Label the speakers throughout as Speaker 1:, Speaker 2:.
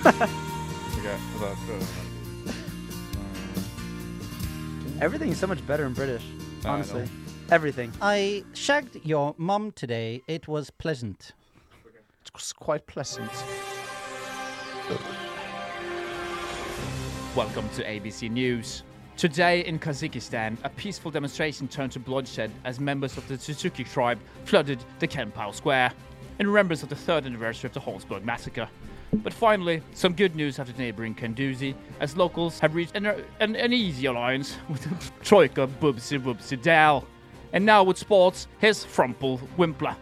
Speaker 1: Okay, hold on, let's
Speaker 2: Everything's so much better in British,
Speaker 1: I know.
Speaker 2: honestly. Everything.
Speaker 3: I shagged your mum today. It was pleasant.
Speaker 4: It's quite pleasant. Welcome to ABC News. Today in Kazakhstan, a peaceful demonstration turned to bloodshed as members of the Tsutsuki tribe flooded the Kenpao Square in remembrance of the third anniversary of the Holzberg massacre. But finally, some good news out of neighboring Kanduzi, as locals have reached an, an, an easy alliance with Troika Bubsy Bubsy Dal. And now with sports, here's Frumple Wimpler.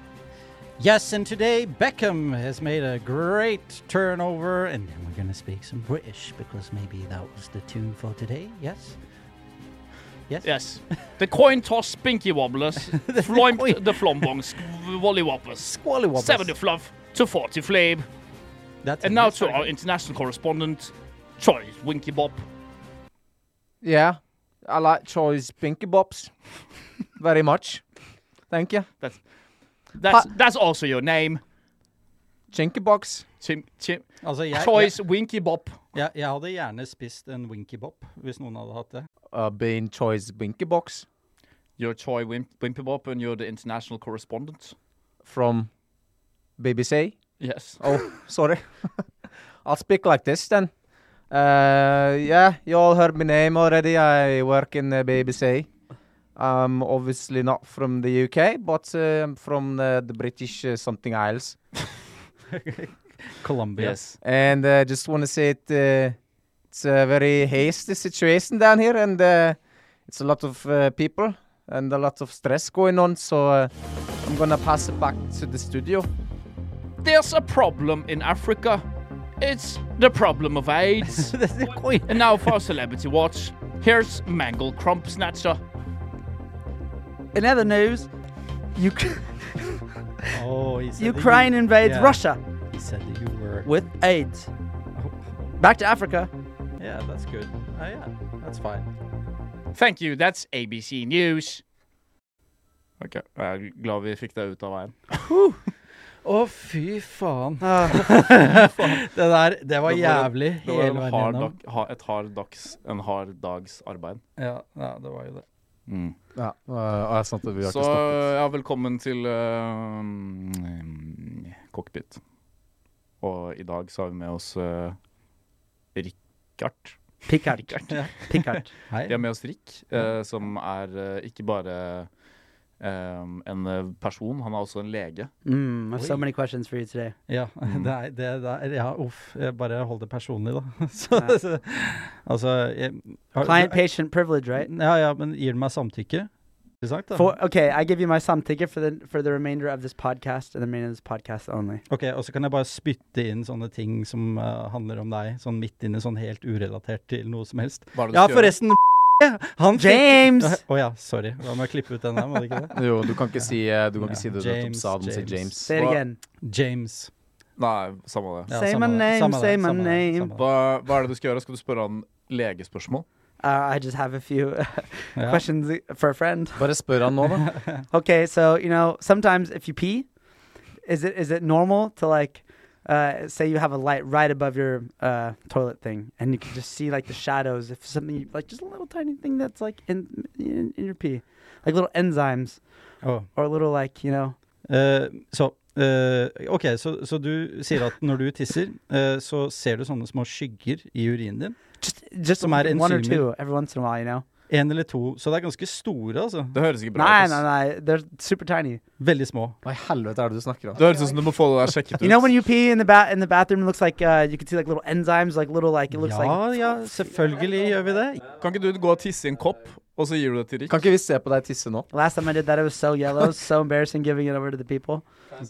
Speaker 3: Yes, and today Beckham has made a great turnover, and then we're going to speak some British because maybe that was the tune for today. Yes? Yes?
Speaker 4: Yes. The coin toss spinky wobblers,
Speaker 3: coin-
Speaker 4: floimp the flombongs, volley whoppers.
Speaker 3: Squally wobbles.
Speaker 4: 70 fluff to 40 flame.
Speaker 3: That's
Speaker 4: And
Speaker 3: it.
Speaker 4: now
Speaker 3: That's
Speaker 4: to
Speaker 3: very
Speaker 4: our
Speaker 3: good.
Speaker 4: international correspondent, Troy Winky Bob.
Speaker 5: Yeah, I like Troy's Binky Bops very much. Thank you.
Speaker 4: That's, that's also your name.
Speaker 5: Chinky Box.
Speaker 4: Tim, Tim,
Speaker 3: altså, jeg, jeg,
Speaker 4: Troy's Winky Bob.
Speaker 3: jeg, jeg hadde gjerne spist en Winky Bop hvis noen hadde hatt det.
Speaker 5: Uh, being Troy's Binky Box
Speaker 4: You're Troy Wim- Wimpy Bob and you're the international correspondent.
Speaker 5: from BBC.
Speaker 4: Yes.
Speaker 5: Oh, sorry. I'll speak like this then. Uh, yeah, you all heard my name already. I work in uh, the BBC. I'm obviously not from the UK, but uh, I'm from the, the British uh, something else.
Speaker 3: Colombia.
Speaker 4: Yes.
Speaker 5: And uh, just want to say it, uh, it's a very hasty situation down here, and uh, it's a lot of uh, people and a lot of stress going on. So uh, I'm gonna pass it back to the studio.
Speaker 4: There's a problem in Africa. It's the problem of AIDS.
Speaker 3: Det er coin.
Speaker 4: and now for our celebrity watch. Here's Mangle Crump Snatcher.
Speaker 6: In other news, Uk-
Speaker 3: Oh, he said that
Speaker 6: Ukraine
Speaker 3: you-
Speaker 6: invades
Speaker 3: yeah,
Speaker 6: Russia
Speaker 3: He said that you were.
Speaker 6: with AIDS. Back to Africa.
Speaker 3: Yeah, that's good. Oh, yeah, that's fine.
Speaker 4: Thank you, that's ABC News. Ok, jeg er glad vi fikk det ut av veien.
Speaker 3: Å, fy faen. det der, Ah. det var
Speaker 4: Det var-
Speaker 3: jævlig
Speaker 4: Det var
Speaker 3: hele
Speaker 4: en
Speaker 3: veien
Speaker 4: hard
Speaker 3: gjennom.
Speaker 4: dag, ha, et hard dags, en hard dags arbeid.
Speaker 3: Ja, ja, det var jo det.
Speaker 4: Mm.
Speaker 7: Ja, og og jeg sant at vi har
Speaker 4: Så
Speaker 7: ikke stoppet.
Speaker 4: ja, velkommen til eh, mm, Cockpit. Og i dag så har vi med oss uh, Rikard.
Speaker 6: Pickard.
Speaker 4: Rikard.
Speaker 6: Pickard.
Speaker 3: Hei.
Speaker 4: Vi har med oss Rik, eh, som er eh, ikke bare eh, en eh, person, han er også en lege.
Speaker 6: Mm, I have so
Speaker 3: Oi.
Speaker 6: many questions for you today.
Speaker 3: Ja,
Speaker 6: Mm.
Speaker 3: det er, det der, ja, uff. jeg Bare hold det personlig, da. Så, så, altså jeg, har-
Speaker 6: Client patient privilege, right?
Speaker 3: Ja, ja, men gir du meg samtykke? Ikke sant, da?
Speaker 6: For, okay, I give you my sum ticket for the for the remainder of this podcast and the remainder of this podcast only.
Speaker 3: Ok, Og så kan jeg bare spytte inn sånne ting som eh, handler om deg, sånn midt inne, sånn helt urelatert til noe som helst.
Speaker 4: Hva er det du
Speaker 3: Ja,
Speaker 4: skal gjøre?
Speaker 3: forresten han fikk-
Speaker 6: James!
Speaker 3: Å ja, sorry. Da må jeg klippe ut den der, må det ikke det?
Speaker 7: Jo, du kan ikke si, eh, du kan
Speaker 3: Ja.
Speaker 7: ikke si det du nettopp sa. Du må si
Speaker 3: James, James.
Speaker 7: James.
Speaker 6: Say it
Speaker 4: Well-
Speaker 6: again.
Speaker 3: James.
Speaker 4: Nei, samme det.
Speaker 3: Ja,
Speaker 6: Say
Speaker 3: samme
Speaker 6: my
Speaker 3: det,
Speaker 6: name,
Speaker 3: samme det,
Speaker 6: say my
Speaker 3: samme det,
Speaker 6: name.
Speaker 3: samme det.
Speaker 4: Hva, hva er det du skal gjøre? Skal du spørre han legespørsmål?
Speaker 6: Uh, I just have a few
Speaker 3: Ja.
Speaker 6: questions for a friend.
Speaker 7: Bare spør han nå, da.
Speaker 6: Okay, so you know sometimes if you pee, is it is it normal to like uh, say you have a light right above your uh, toilet thing and you can just see like the shadows if something you, like just a little tiny thing that's like in, in in your pee, like little enzymes
Speaker 3: Å.
Speaker 6: or little like you know
Speaker 3: Eh, så eh, OK, så, så du sier at når du tisser, eh, så ser du sånne små skygger i urinen din.
Speaker 6: just just
Speaker 3: Som er
Speaker 6: one or
Speaker 3: enzymer.
Speaker 6: two every once in a while, you know.
Speaker 3: Én eller to. Så det er ganske store, altså.
Speaker 4: Det høres ikke bra
Speaker 6: Nah,
Speaker 4: ut.
Speaker 6: nah,
Speaker 4: ass.
Speaker 6: nah. They're super tiny.
Speaker 3: Veldig små.
Speaker 7: Hva i helvete er det du snakker om?
Speaker 4: Det høres ut som du må få det der sjekket ut.
Speaker 6: You know when you pee in the bat in the bathroom, it looks like uh, you can see like little enzymes, like little like it looks like.
Speaker 3: Ja, ja, selvfølgelig gjør vi det.
Speaker 4: Kan ikke du gå og tisse i en kopp, og så gir du det til Rik?
Speaker 7: Kan ikke vi se på deg tisse nå?
Speaker 6: Last time I did that, it was so yellow, it was so embarrassing giving it over to the people.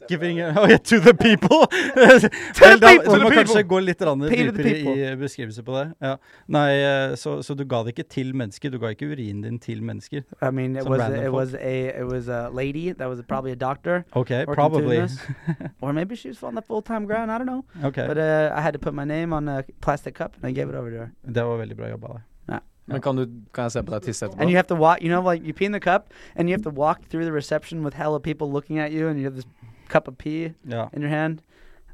Speaker 3: Giving it oh, yeah, to the people!
Speaker 6: the
Speaker 3: Vel, da,
Speaker 6: people!
Speaker 3: Du må kanskje gå litt rann
Speaker 6: Pay to the
Speaker 3: dypere i
Speaker 6: people.
Speaker 3: eh, beskrivelse på det. Ja. Nei, eh, så, så du ga det ikke til mennesker? Du ga ikke urinen din til mennesker?
Speaker 6: I mean, it
Speaker 3: Some
Speaker 6: was
Speaker 3: random
Speaker 6: it
Speaker 3: folk.
Speaker 6: was a it was a lady that was probably a doctor,
Speaker 3: OK,
Speaker 6: Working
Speaker 3: probably.
Speaker 6: through or maybe she was on the full time ground. I don't know.
Speaker 3: Ok,
Speaker 6: But uh, I had to put my name on a plastic cup and I gave it over to her.
Speaker 3: Det var veldig bra jobba. da.
Speaker 7: Men kan, du, kan jeg se på deg tisse etterpå?
Speaker 6: And you have to walk. You know, like you pee in the cup and you have to walk through the reception with hella people looking at you, and you have this cup of pee
Speaker 3: Ja.
Speaker 6: in your hand.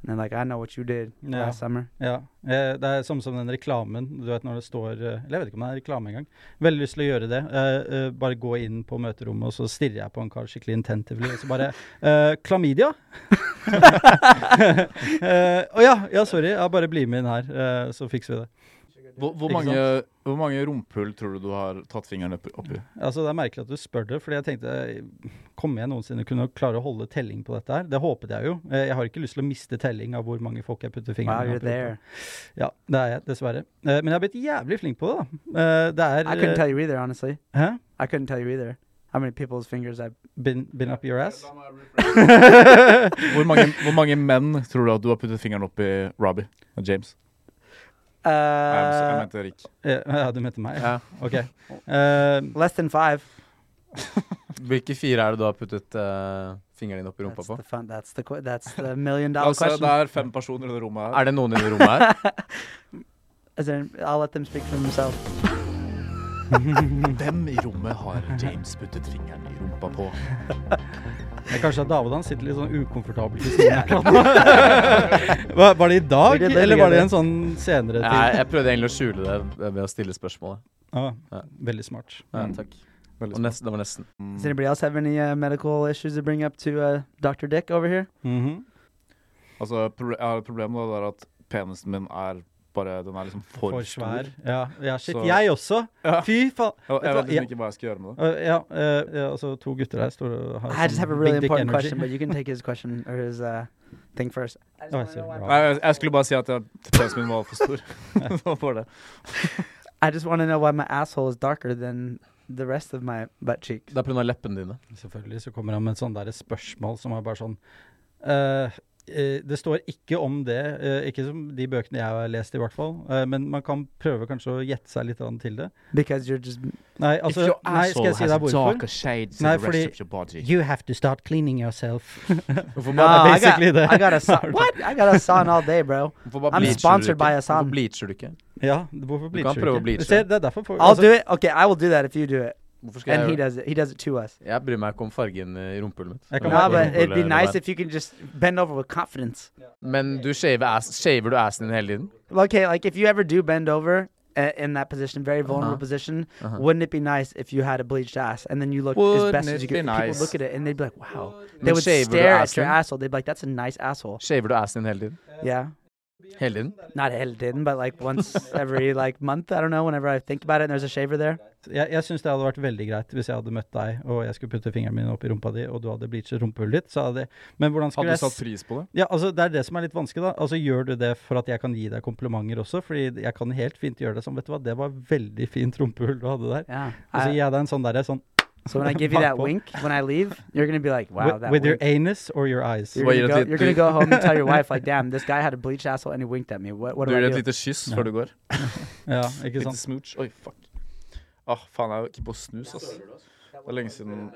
Speaker 6: And they're like, I know what you did
Speaker 3: Yeah.
Speaker 6: last summer.
Speaker 3: Ja. eh, Det er samme som den reklamen. Du vet når det står eh, Eller jeg vet ikke om det er reklame engang. Veldig lyst til å gjøre det. Eh, eh, Bare gå inn på møterommet, og så stirrer jeg på en kar skikkelig intensively, og så bare eh, Klamydia! Eh, Å ja, ja, sorry. Jeg bare blir med inn her, eh, så fikser vi det.
Speaker 7: Hvor, hvor,
Speaker 3: Ikke
Speaker 7: mange, hvor mange rumpehull tror du du har tatt fingeren opp- oppi?
Speaker 3: Altså, Det er merkelig at du spør det, fordi jeg tenkte eh, Kommer jeg noensinne kunne klare å holde telling på dette her? Det håpet jeg jo. Eh, Jeg har ikke lyst til å miste telling av hvor mange folk jeg putter
Speaker 6: Wow,
Speaker 3: fingrene
Speaker 6: you're
Speaker 3: oppi.
Speaker 6: there.
Speaker 3: Ja, det er jeg, dessverre. Eh, Men jeg har blitt jævlig flink på det, da. Eh, Det er eh,
Speaker 6: I couldn't tell you either, honestly.
Speaker 3: Hæ?
Speaker 6: I couldn't tell you either how many people's fingers I.
Speaker 3: Been, been up your ass?
Speaker 7: Hvor mange, hvor mange menn tror du at du har puttet fingeren oppi Robbie og James? Nei, jeg mente- jeg
Speaker 6: Uh,
Speaker 7: mente Erik.
Speaker 3: Eh, Ja, du mente meg?
Speaker 5: Ja.
Speaker 3: Ok. Eh,
Speaker 6: less than five.
Speaker 5: Hvilke fire er det du har puttet eh, fingeren din opp i rumpa
Speaker 6: That's
Speaker 5: på?
Speaker 6: the fun. That's the qu- that's the million
Speaker 7: La
Speaker 6: dollar
Speaker 7: oss se,
Speaker 6: question.
Speaker 7: Altså, det er fem personer i det rommet her.
Speaker 5: Er det noen i det rommet her?
Speaker 6: Is there, I'll let them speak for themselves.
Speaker 7: Hvem i rommet har James puttet fingeren i rumpa på?
Speaker 3: det er kanskje at David han sitter litt sånn ukomfortabel ved siden av meg. Var var det i dag,
Speaker 6: We did live
Speaker 3: eller var det en
Speaker 6: together.
Speaker 3: sånn senere ting?
Speaker 5: Nei, jeg prøvde egentlig å skjule det ved å stille spørsmålet.
Speaker 3: Ah,
Speaker 5: Ja.
Speaker 3: veldig smart.
Speaker 5: Ja,
Speaker 7: Mm.
Speaker 5: takk.
Speaker 7: Veldig
Speaker 5: Og nesten, det var nesten.
Speaker 6: Does anybody else have any uh, medical issues to bring up to uh, Doctor Dick over here?
Speaker 3: Mhm.
Speaker 7: Altså, proble ja, problemet da, det er at penisen min er bare Den er liksom for,
Speaker 3: For svær. Ja, ja shit.
Speaker 7: Så-
Speaker 3: Jeg også!
Speaker 7: Ja.
Speaker 3: Fy faen!
Speaker 7: Jeg, jeg
Speaker 3: Vet du hva,
Speaker 7: vet liksom ikke hva jeg skal gjøre med det.
Speaker 3: Eh, ja, eh, ja, altså to gutter her står og har
Speaker 6: I just
Speaker 3: sånn
Speaker 6: have a
Speaker 3: big
Speaker 6: really
Speaker 3: dick
Speaker 6: important
Speaker 3: energy.
Speaker 6: question, but you can take his question or his uh, thing first.
Speaker 3: Ja, jeg ser bra.
Speaker 7: Nei, jeg, jeg skulle bare si at jeg, penisen min var for stor. Det var for det.
Speaker 6: I just want to know why my asshole is darker than the rest of my butt cheeks.
Speaker 5: Det er pga. leppene dine.
Speaker 3: Selvfølgelig så kommer han med et sånt der spørsmål som er bare sånn eh, eh, Det står ikke om det, eh, ikke som de bøkene jeg har lest i hvert fall, eh, men man kan prøve kanskje å gjette seg litt grann til det.
Speaker 6: Because you're just
Speaker 3: Nei, altså, nei skal jeg si deg hvorfor?
Speaker 7: shades
Speaker 3: Nei, fordi-
Speaker 7: your body.
Speaker 3: You have to start cleaning yourself.
Speaker 5: Hvorfor
Speaker 6: No,
Speaker 5: bare,
Speaker 6: I got,
Speaker 3: basically the-
Speaker 6: I got a son. what? I got a son all day, bro.
Speaker 5: hvorfor bare
Speaker 6: I'm
Speaker 5: bleacher
Speaker 6: sponsored
Speaker 5: du ikke?
Speaker 6: by Asan.
Speaker 5: Hvorfor bleacher du ikke?
Speaker 3: Ja, hvorfor bleacher
Speaker 5: kan prøve å bleache.
Speaker 3: Se, det er derfor for,
Speaker 6: I'll do it. Okay, I will do that if you do it,
Speaker 5: Hvorfor skal
Speaker 6: and he
Speaker 5: jeg gjøre
Speaker 6: does it. He does it to us.
Speaker 5: Jeg bryr meg ikke om fargen eh, i rumpehullet mitt.
Speaker 3: Jeg kan
Speaker 6: Nah,
Speaker 3: være-
Speaker 6: but it'd be nice if you can just bend over with confidence.
Speaker 5: Men du shaver, ass, shaver du assen din hele tiden?
Speaker 6: Okay, like if you ever do bend over uh, in that position, very vulnerable
Speaker 5: Uh-huh.
Speaker 6: position,
Speaker 5: Uh-huh.
Speaker 6: wouldn't it be nice if you had a bleached ass? And then you look as
Speaker 7: Wouldn't
Speaker 6: best
Speaker 7: it
Speaker 6: as you
Speaker 7: be
Speaker 6: can.
Speaker 7: nice?
Speaker 6: People look at it and they'd be like, "Wow." They
Speaker 5: Men
Speaker 6: would
Speaker 5: shaver du
Speaker 6: stare at your
Speaker 5: assen?
Speaker 6: asshole. They'd be like, "That's a nice asshole."
Speaker 5: Shaver du assen din hele tiden?
Speaker 6: Yeah,
Speaker 5: Hele tiden?
Speaker 6: not hell didn't, but like once every like month, I don't know. Whenever I think about it, and there's a shaver there.
Speaker 3: altså, Jeg, jeg syns det hadde vært veldig greit hvis jeg hadde møtt deg, og jeg skulle putte fingeren min opp i rumpa di, og du hadde bleachet rumpehullet ditt, så hadde Men hvordan skulle
Speaker 7: Hadde
Speaker 3: jeg
Speaker 7: du satt pris på det?
Speaker 3: Ja, altså Det er det som er litt vanskelig. da Altså Gjør du det for at jeg kan gi deg komplimenter også? Fordi jeg kan helt fint gjøre det som Vet du hva, det var veldig fint rumpehull du hadde der.
Speaker 6: Yeah.
Speaker 3: Og så
Speaker 6: I-
Speaker 3: gir jeg deg en sånn derre sånn
Speaker 6: so when I give you that
Speaker 3: Papo.
Speaker 6: wink when I leave, you're gonna be like, "Wow,
Speaker 3: with,
Speaker 6: that
Speaker 3: with your
Speaker 6: wink."
Speaker 3: anus or your eyes.
Speaker 6: You're
Speaker 5: Well,
Speaker 6: gonna,
Speaker 5: you're
Speaker 6: go,
Speaker 5: the-
Speaker 6: you're gonna go home and tell your wife, like, damn, this guy had a bleached asshole and he winked at me. What, what
Speaker 7: Du
Speaker 6: do I
Speaker 7: gir
Speaker 6: do?
Speaker 7: et lite kyss
Speaker 3: Ja.
Speaker 7: før du går.
Speaker 3: Ja, ikke
Speaker 7: Lite
Speaker 3: sant?
Speaker 7: smooch. Oi, fuck. Åh, faen, jeg er jo ikke på snus, ass. Det er lenge siden
Speaker 5: Men,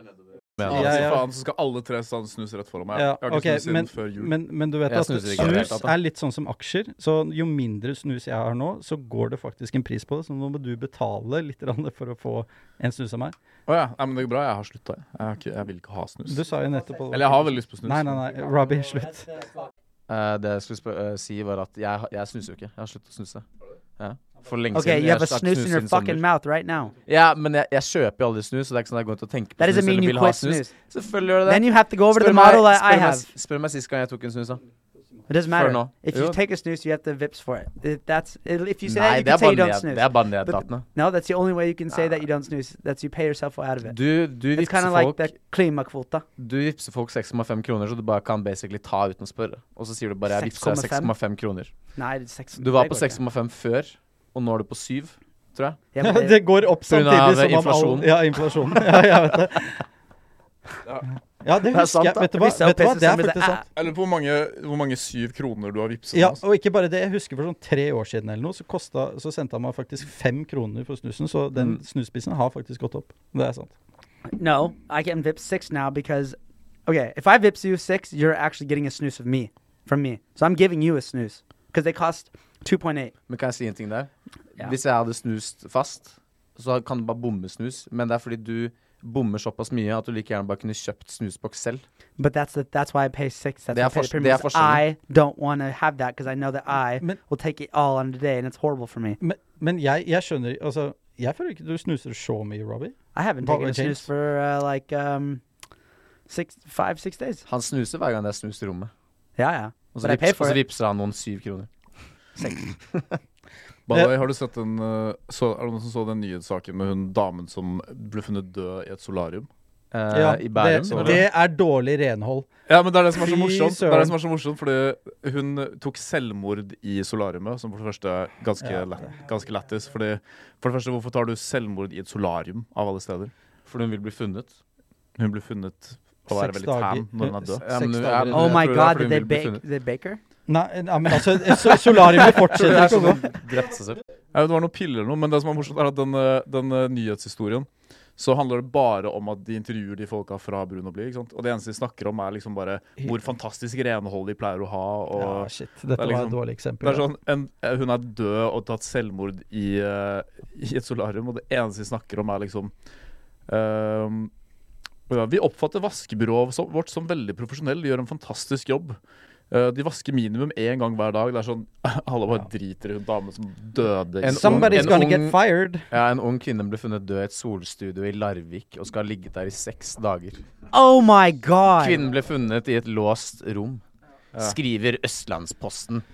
Speaker 7: Ja,
Speaker 3: Ja,
Speaker 7: altså,
Speaker 3: ja.
Speaker 7: faen, så skal alle tre sånn snus rett foran meg.
Speaker 3: Ja,
Speaker 7: Jeg har ikke
Speaker 3: ok,
Speaker 7: snus siden
Speaker 3: men-
Speaker 7: før jul.
Speaker 3: Men, men du vet
Speaker 5: Jeg
Speaker 3: at
Speaker 5: snuser ikke i det hele
Speaker 3: snus
Speaker 5: tatt, da.
Speaker 3: er litt sånn som aksjer. Så jo mindre snus jeg har nå, så går det faktisk en pris på det. Så nå må du betale litt grann for å få en snus av meg.
Speaker 7: Å ja, nei, men det går bra. Jeg har slutta. jeg. Jeg, har ikke- jeg vil ikke ha snus.
Speaker 3: Du sa jo nettopp
Speaker 7: Eller jeg har veldig lyst på snus.
Speaker 3: Nei, nei, nei. Robbie, slutt.
Speaker 5: Eh, det jeg skulle spør- eh, si, var at jeg, jeg snuser jo ikke. Jeg har sluttet å snuse. Ja. For lenge
Speaker 6: Okay,
Speaker 5: siden.
Speaker 6: you have a
Speaker 5: Jeg har
Speaker 6: snooze in
Speaker 5: snust
Speaker 6: your
Speaker 5: siden
Speaker 6: fucking
Speaker 5: sommer.
Speaker 6: mouth right now.
Speaker 5: Ja, men jeg, jeg kjøper jo aldri snus, så det er ikke sånn at jeg går ut og tenker på
Speaker 6: That doesn't
Speaker 5: snus
Speaker 6: mean
Speaker 5: eller
Speaker 6: you
Speaker 5: vil ha
Speaker 6: quit
Speaker 5: snus.
Speaker 6: snooze.
Speaker 5: Selvfølgelig gjør det
Speaker 6: Then
Speaker 5: det.
Speaker 6: you have to go over to the
Speaker 5: Spør
Speaker 6: model
Speaker 5: meg,
Speaker 6: that I
Speaker 5: spør, meg,
Speaker 6: have.
Speaker 5: s- spør meg sist gang jeg tok en snus, da.
Speaker 6: It doesn't matter.
Speaker 5: nå.
Speaker 6: If you
Speaker 5: Jo.
Speaker 6: take a snooze, you have to vips for it. If that's if you say that, you can
Speaker 5: Nei, det er
Speaker 6: say you
Speaker 5: bare
Speaker 6: don't
Speaker 5: ned-
Speaker 6: snooze.
Speaker 5: det er bare nedlatende.
Speaker 6: No, that's the only way you can say that you don't snooze. That's you pay yourself out of it.
Speaker 5: Du, du
Speaker 6: it's kind
Speaker 5: vipser
Speaker 6: of like
Speaker 5: folk
Speaker 6: the klima kvota.
Speaker 5: Du vipser folk 6,5 kroner, så du bare kan basically ta uten å spørre. Og så sier du bare 'jeg vipser deg 6,5 kroner'.
Speaker 6: Nei, det er seks.
Speaker 5: Du var
Speaker 6: det
Speaker 5: på
Speaker 6: går ikke.
Speaker 5: 6,5 før, og nå er du på 7, tror jeg.
Speaker 6: Ja,
Speaker 3: Ja,
Speaker 6: men
Speaker 3: det går opp
Speaker 5: På grunn
Speaker 3: samtidig
Speaker 5: av eh,
Speaker 3: som om
Speaker 5: inflasjonen.
Speaker 3: all Ja, inflasjonen. Ja, jeg vet det. Ja, det husker jeg. Vet du hva?
Speaker 6: Hvis jeg
Speaker 3: Vet du hva?
Speaker 6: oppleser
Speaker 3: Det er
Speaker 6: sommer,
Speaker 3: faktisk
Speaker 6: det er-
Speaker 3: sant.
Speaker 7: Jeg lurer på hvor mange, hvor mange syv kroner du har vippset.
Speaker 3: Ja,
Speaker 7: nå, ass.
Speaker 3: og ikke bare det. Jeg husker for sånn tre år siden eller noe, så, kosta, så sendte han meg faktisk fem kroner for snusen, så den
Speaker 5: Mm.
Speaker 3: snuspissen har faktisk gått opp. Det er sant.
Speaker 6: No, I can vip six now because, okay, if I vips you six, you're actually getting a snooze of me from me. So I'm giving you a snooze because they cost two point eight.
Speaker 5: Men kan jeg si en ting der?
Speaker 6: Ja.
Speaker 5: Hvis jeg hadde snust fast, så kan du bare bomme snus, men det er fordi du bommer såpass mye at du like gjerne bare kunne kjøpt snusboks selv.
Speaker 6: But that's the, that's why I pay six. That's
Speaker 5: Det
Speaker 6: why
Speaker 5: er
Speaker 6: I pay the
Speaker 5: fors-
Speaker 6: premium.
Speaker 5: det er
Speaker 6: 'cause I don't want to have that because I know that I
Speaker 3: Men-
Speaker 6: will take it all on the day, and it's horrible for me.
Speaker 3: Men, men jeg, jeg skjønner Altså, jeg føler ikke du snuser så mye, Robbie.
Speaker 6: I haven't taken
Speaker 3: What were
Speaker 6: a
Speaker 3: the
Speaker 6: snus
Speaker 3: changes?
Speaker 6: for uh, like um, six, five, six days.
Speaker 5: Han snuser hver gang det er snus i rommet.
Speaker 6: Yeah, yeah.
Speaker 5: Og så,
Speaker 6: But I pay
Speaker 5: vips, og
Speaker 6: for
Speaker 5: så
Speaker 6: it.
Speaker 5: vipser han noen syv kroner.
Speaker 4: By the way, har du sett den eh, så, Er det noen som så den nyhetssaken med hun damen som ble funnet død i et solarium?
Speaker 5: Eh, I Bærum.
Speaker 3: det,
Speaker 5: så var
Speaker 3: det er dårlig renhold.
Speaker 4: Ja, men det er det som er så
Speaker 3: Fy
Speaker 4: morsomt. Det er
Speaker 3: søren.
Speaker 4: det som er så morsomt Fordi hun tok selvmord i solariumet, som for det første er ganske,
Speaker 3: Ja.
Speaker 4: lett, ganske lættis. Fordi, for det første, hvorfor tar du selvmord i et solarium av alle steder?
Speaker 5: Fordi hun vil bli funnet.
Speaker 4: Hun ble funnet å være
Speaker 3: Seks
Speaker 4: veldig tan
Speaker 3: dager.
Speaker 4: når hun er død.
Speaker 5: Ja, men
Speaker 3: Seks
Speaker 5: jeg-
Speaker 3: dager.
Speaker 5: jeg
Speaker 6: Oh
Speaker 5: tror
Speaker 6: my
Speaker 5: det er
Speaker 6: god,
Speaker 5: fordi
Speaker 6: did
Speaker 5: hun
Speaker 6: they
Speaker 5: vil bli
Speaker 6: bake?
Speaker 5: funnet.
Speaker 6: Did they bake her?
Speaker 3: Nei, nei, men altså, so- solariumet
Speaker 5: Det
Speaker 3: fortsetter
Speaker 5: er
Speaker 3: ikke å gå.
Speaker 5: sånn hun drepte seg selv.
Speaker 4: Ja, det var noen piller eller noe, men det som er morsomt, er at den, eh, den eh, nyhetshistorien så handler det bare om at de intervjuer de folka fra Brun og Bly. ikke sant? Og det eneste de snakker om, er liksom bare hvor fantastisk renhold de pleier å ha. og...
Speaker 3: Ja, shit. Dette
Speaker 4: Det er
Speaker 3: var
Speaker 4: liksom-
Speaker 3: et dårlig eksempel.
Speaker 4: Det er sånn, en, eh, Hun er død og tatt selvmord i, eh, i et solarium, og det eneste vi snakker om, er liksom ehm, og ja, Vi oppfatter vaskebyrået som, vårt som veldig profesjonell. De gjør en fantastisk jobb. Eh, de vasker minimum én gang hver dag. Det er sånn, Alle bare driter i hun damen som døde. i
Speaker 5: En
Speaker 3: Somebody's
Speaker 5: ung-
Speaker 3: gonna
Speaker 5: en
Speaker 3: get
Speaker 5: ung-
Speaker 3: fired.
Speaker 5: Ja, en ung kvinne ble funnet død i et solstudio i Larvik og skal ha ligget der i seks dager.
Speaker 6: Oh my god!
Speaker 5: Kvinnen ble funnet i et låst rom, skriver Østlandsposten.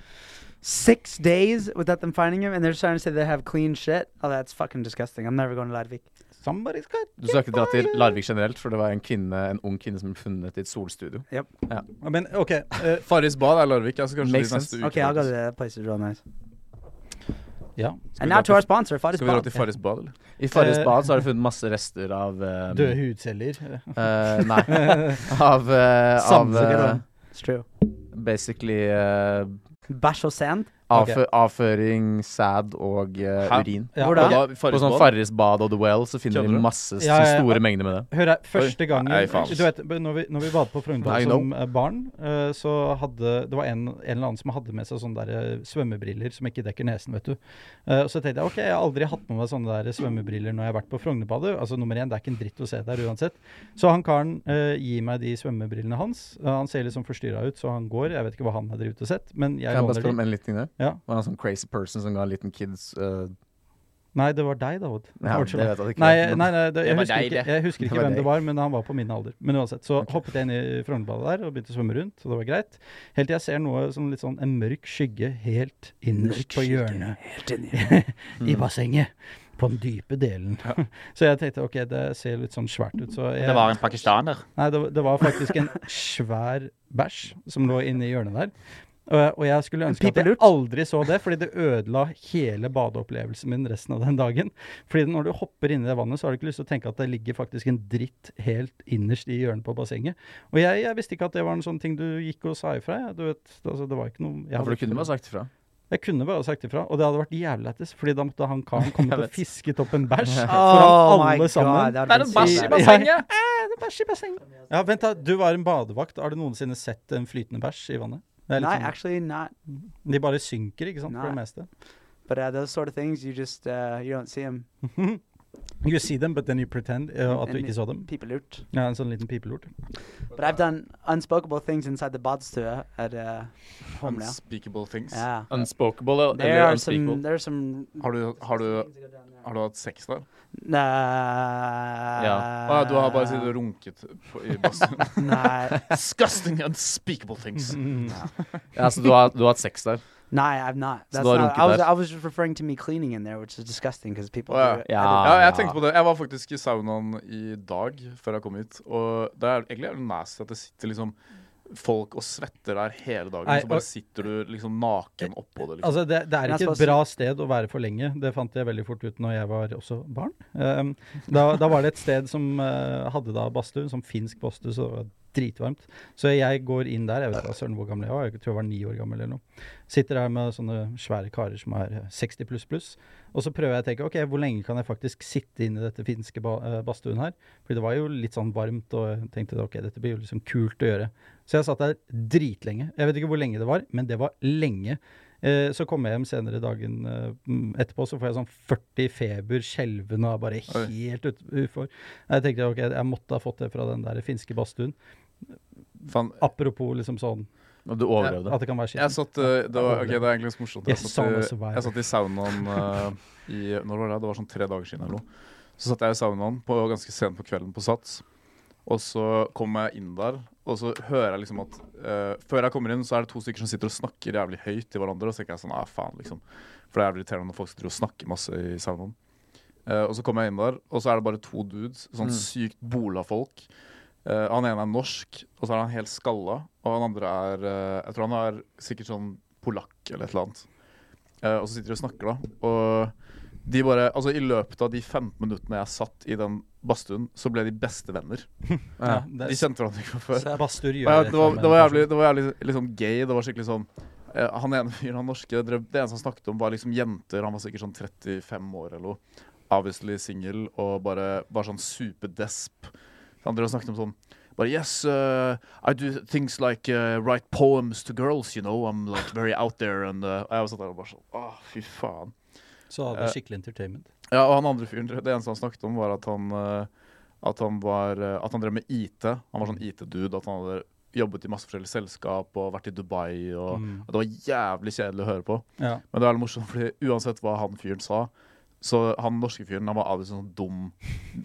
Speaker 6: Six days without them finding him, and they're trying to say they have clean shit. Oh, that's fucking disgusting. I'm never going to Larvik.
Speaker 3: Somebody's got
Speaker 5: Du skal ikke dra til Larvik generelt, for det var en, kvinne, en ung kvinne som ble funnet i et solstudio.
Speaker 3: Ja, Men OK. eh,
Speaker 4: Farris bad er Larvik. Altså kanskje
Speaker 5: Makes
Speaker 4: de neste
Speaker 5: sense.
Speaker 4: uke,
Speaker 6: Okay, I'll go to
Speaker 4: faktisk.
Speaker 6: that. That place is real nice.
Speaker 3: ja.
Speaker 6: And
Speaker 4: we
Speaker 6: now
Speaker 4: go
Speaker 6: to
Speaker 4: to-
Speaker 6: our sponsor, Fadis
Speaker 4: Skal vi dra til
Speaker 6: Bond.
Speaker 4: Farris bad, eller?
Speaker 5: I Farris
Speaker 3: Eh.
Speaker 5: bad så har de funnet masse rester av eh,
Speaker 3: Døde hudceller.
Speaker 5: eh, Nei. Av, eh, av
Speaker 6: Sanser,
Speaker 4: uh,
Speaker 5: eh,
Speaker 6: da. It's true.
Speaker 5: basically eh,
Speaker 6: Basho Sand.
Speaker 5: avfø avføring, sæd og eh,
Speaker 4: Hæ?
Speaker 5: urin.
Speaker 3: Ja.
Speaker 6: Hvor da?
Speaker 4: Og da,
Speaker 5: På
Speaker 4: Farris
Speaker 5: sånn
Speaker 4: bad,
Speaker 5: Farris bad og The Well så finner
Speaker 4: Kjenner
Speaker 5: de
Speaker 4: du?
Speaker 5: masse
Speaker 3: Ja, ja, ja.
Speaker 5: store mengder med det.
Speaker 3: Hør her, første gangen
Speaker 4: nei, faen.
Speaker 3: Du vet, b- når vi, når vi badet på
Speaker 5: I
Speaker 3: Frognerbadet som eh, barn, eh, så hadde det var en, en eller annen som hadde med seg sånne der eh, svømmebriller som ikke dekker nesen, vet du. Eh, og så tenkte jeg OK, jeg har aldri hatt med meg sånne der eh, svømmebriller når jeg har vært på Frognerbadet. Altså nummer én, det er ikke en dritt å se der uansett. Så han karen eh, gir meg de svømmebrillene hans. Eh, han ser litt sånn forstyrra ut, så han går. Jeg vet ikke hva han har drevet og sett, men jeg
Speaker 5: Kan jeg bare
Speaker 3: låner
Speaker 5: spørre om
Speaker 3: de.
Speaker 5: en liten ting der?
Speaker 3: Ja.
Speaker 5: Var det en sånn crazy person som ga en liten kids eh,
Speaker 3: Nei, det var deg, da, Odd.
Speaker 5: ja, det
Speaker 3: Unnskyld meg.
Speaker 5: vet jeg ikke.
Speaker 3: Nei,
Speaker 5: men-
Speaker 3: nei, nei det, jeg,
Speaker 8: var
Speaker 3: husker
Speaker 8: deg,
Speaker 3: ikke,
Speaker 8: det.
Speaker 3: jeg husker
Speaker 5: Det
Speaker 3: ikke
Speaker 5: var
Speaker 3: hvem
Speaker 5: deg.
Speaker 3: det var, men han var på min alder. Men uansett, så hoppet jeg inn i Frognerbadet der og begynte å svømme rundt, og det var greit. Helt til jeg ser noe som litt sånn en mørk skygge helt innerst på hjørnet
Speaker 5: Mm.
Speaker 3: i bassenget. På den dype delen. så jeg tenkte ok, det ser litt sånn svært ut, så jeg
Speaker 8: Det var en pakistaner.
Speaker 3: Nei, det, var- det var faktisk en svær bæsj som lå inne i hjørnet der. Og, og jeg skulle ønske at jeg aldri så det, fordi det ødela hele badeopplevelsen min resten av den dagen. Fordi når du hopper inn i det vannet, så har du ikke lyst til å tenke at det ligger faktisk en dritt helt innerst i hjørnet på bassenget. Og jeg, jeg visste ikke at det var en sånn ting du gikk og sa ifra. Jeg, du vet, altså, det var ikke noe jeg
Speaker 5: Ja, for
Speaker 3: hadde-
Speaker 5: du kunne bare sagt ifra.
Speaker 3: jeg kunne bare sagt ifra, og det hadde vært jævlig lættis, fordi da måtte han karen komme til å fiske opp en bæsj
Speaker 6: Oh
Speaker 3: foran
Speaker 6: my
Speaker 3: alle
Speaker 6: god.
Speaker 3: sammen.
Speaker 6: That would be so
Speaker 3: bæsj i
Speaker 6: bad.
Speaker 3: bassenget! Ja, vent da, du var en badevakt. Har du noensinne sett en flytende bæsj i vannet? Det er litt
Speaker 6: No,
Speaker 3: sånn-
Speaker 6: actually not.
Speaker 3: de bare synker, ikke sant, for
Speaker 6: Nei.
Speaker 3: det meste.
Speaker 6: But uh, those sort of things, you just uh, you don't see them.
Speaker 3: You see them, but then you pretend uh, at du
Speaker 6: En-
Speaker 3: ikke så dem.
Speaker 6: People loot.
Speaker 3: Ja, en sånn liten pipelort.
Speaker 6: But I've done unspeakable things inside the bots too uh, at uh, home now.
Speaker 4: Unspeakable things.
Speaker 6: Yeah.
Speaker 5: Unspokable
Speaker 6: There are some. There are some.
Speaker 4: Har, du, har, du, har du hatt sex der?
Speaker 6: Nah.
Speaker 4: Å ja, du har bare sittet og runket på, i bassen.
Speaker 6: Nah.
Speaker 4: Disgusting unspeakable things.
Speaker 3: Mm.
Speaker 5: Ja, så du har, du har hatt sex der?
Speaker 6: Nah, I've not.
Speaker 5: Så
Speaker 6: That's
Speaker 5: du har
Speaker 6: not.
Speaker 5: runket
Speaker 6: I was.
Speaker 5: der.
Speaker 6: I was just referring to me cleaning in there, which is disgusting because people.
Speaker 4: Å, ja.
Speaker 6: do it.
Speaker 5: Ja.
Speaker 4: Ja, jeg tenkte på det. Jeg var faktisk i saunaen i dag før jeg kom hit. Og det er egentlig er det nasty at det sitter liksom folk og svetter der hele dagen.
Speaker 3: Nei,
Speaker 4: så
Speaker 3: og-
Speaker 4: bare sitter du liksom naken oppå det. Liksom.
Speaker 3: Altså, det, det er
Speaker 6: Men jeg
Speaker 3: ikke et
Speaker 6: skal
Speaker 3: bra sted å være for lenge. Det fant jeg veldig fort ut når jeg var også barn. Um, da, da var det et sted som eh, hadde da badstue, som finsk badstue, så det var dritvarmt. Så jeg går inn der, jeg vet ikke søren hvor gammel jeg var, jeg tror jeg var ni år gammel eller noe. Sitter der med sånne svære karer som er eh, 60 pluss pluss, og så prøver jeg å tenke ok, hvor lenge kan jeg faktisk sitte inne i dette finske ba eh, badstuen her? Fordi det var jo litt sånn varmt, og jeg tenkte ok, dette blir jo liksom kult å gjøre. Så jeg satt der dritlenge. Jeg vet ikke hvor lenge det var, men det var lenge. Eh, Eh, Så kommer jeg hjem senere dagen eh, mm, etterpå, så får jeg sånn 40 feber, skjelven og er bare
Speaker 4: Oi.
Speaker 3: helt ut- ufor. Jeg tenkte ok, jeg måtte ha fått det fra den der finske badstuen.
Speaker 4: Faen,
Speaker 3: Apropos liksom sånn
Speaker 5: Og du overlevde.
Speaker 3: at det kan være
Speaker 4: Jeg
Speaker 3: skittent.
Speaker 4: satt eh, det, var, ok, det er egentlig ganske morsomt. Jeg
Speaker 3: Yes,
Speaker 4: satt,
Speaker 3: sauna
Speaker 4: i,
Speaker 3: survivor.
Speaker 4: jeg satt i saunaen eh, i Når var det? Det var sånn tre dager siden eller noe. Så satt jeg i saunaen på, ganske sent på kvelden på Sats. Og så kom jeg inn der, og så hører jeg liksom at eh, Før jeg kommer inn, så er det to stykker som sitter og snakker jævlig høyt til hverandre. Og så tenker jeg sånn, ah, faen liksom For det er jævlig irriterende når folk sitter og snakker masse i saunaen. Eh, og så kommer jeg inn der, og så er det bare to dudes. Sånn sykt bola folk. Eh, han ene er norsk, og så er han helt skalla. Og han andre er eh, Jeg tror han er sikkert sånn polakk eller et eller annet. Eh, og så sitter de og snakker, da. Og de bare Altså, i løpet av de 15 minuttene jeg satt i den badstuen, så ble de bestevenner.
Speaker 3: Ja,
Speaker 4: De
Speaker 3: det,
Speaker 4: kjente hverandre ikke fra før.
Speaker 3: badstuer
Speaker 4: Og
Speaker 3: gjør
Speaker 4: jeg,
Speaker 3: et
Speaker 4: det,
Speaker 3: eller annet med
Speaker 4: var, det var
Speaker 3: en
Speaker 4: jævlig, det var jævlig liksom gay. Det var skikkelig sånn eh, Han ene fyren, han norske, drev, det eneste han snakket om, var liksom jenter. Han var sikkert sånn 35 år eller noe. Obviously singel og bare var sånn superdesp. Han drev og snakket om sånn But yes, uh, I do things like uh, write poems to girls, you know. I'm like very out there and uh, Og jeg var satt der og bare sånn Å, fy faen.
Speaker 3: person. Så hadde
Speaker 4: eh,
Speaker 3: jeg skikkelig entertainment.
Speaker 4: Ja, og han andre fyren, det eneste han snakket om, var at han, eh, at han, var, eh, at han drev med IT. Han var sånn IT-dude. At han hadde jobbet i masse forskjellige selskap og vært i Dubai. Og,
Speaker 3: Mm.
Speaker 4: og Det var jævlig kjedelig å høre på.
Speaker 3: Ja.
Speaker 4: Men det var litt morsomt, fordi uansett hva han fyren sa så han norske fyren han var aldri sånn dum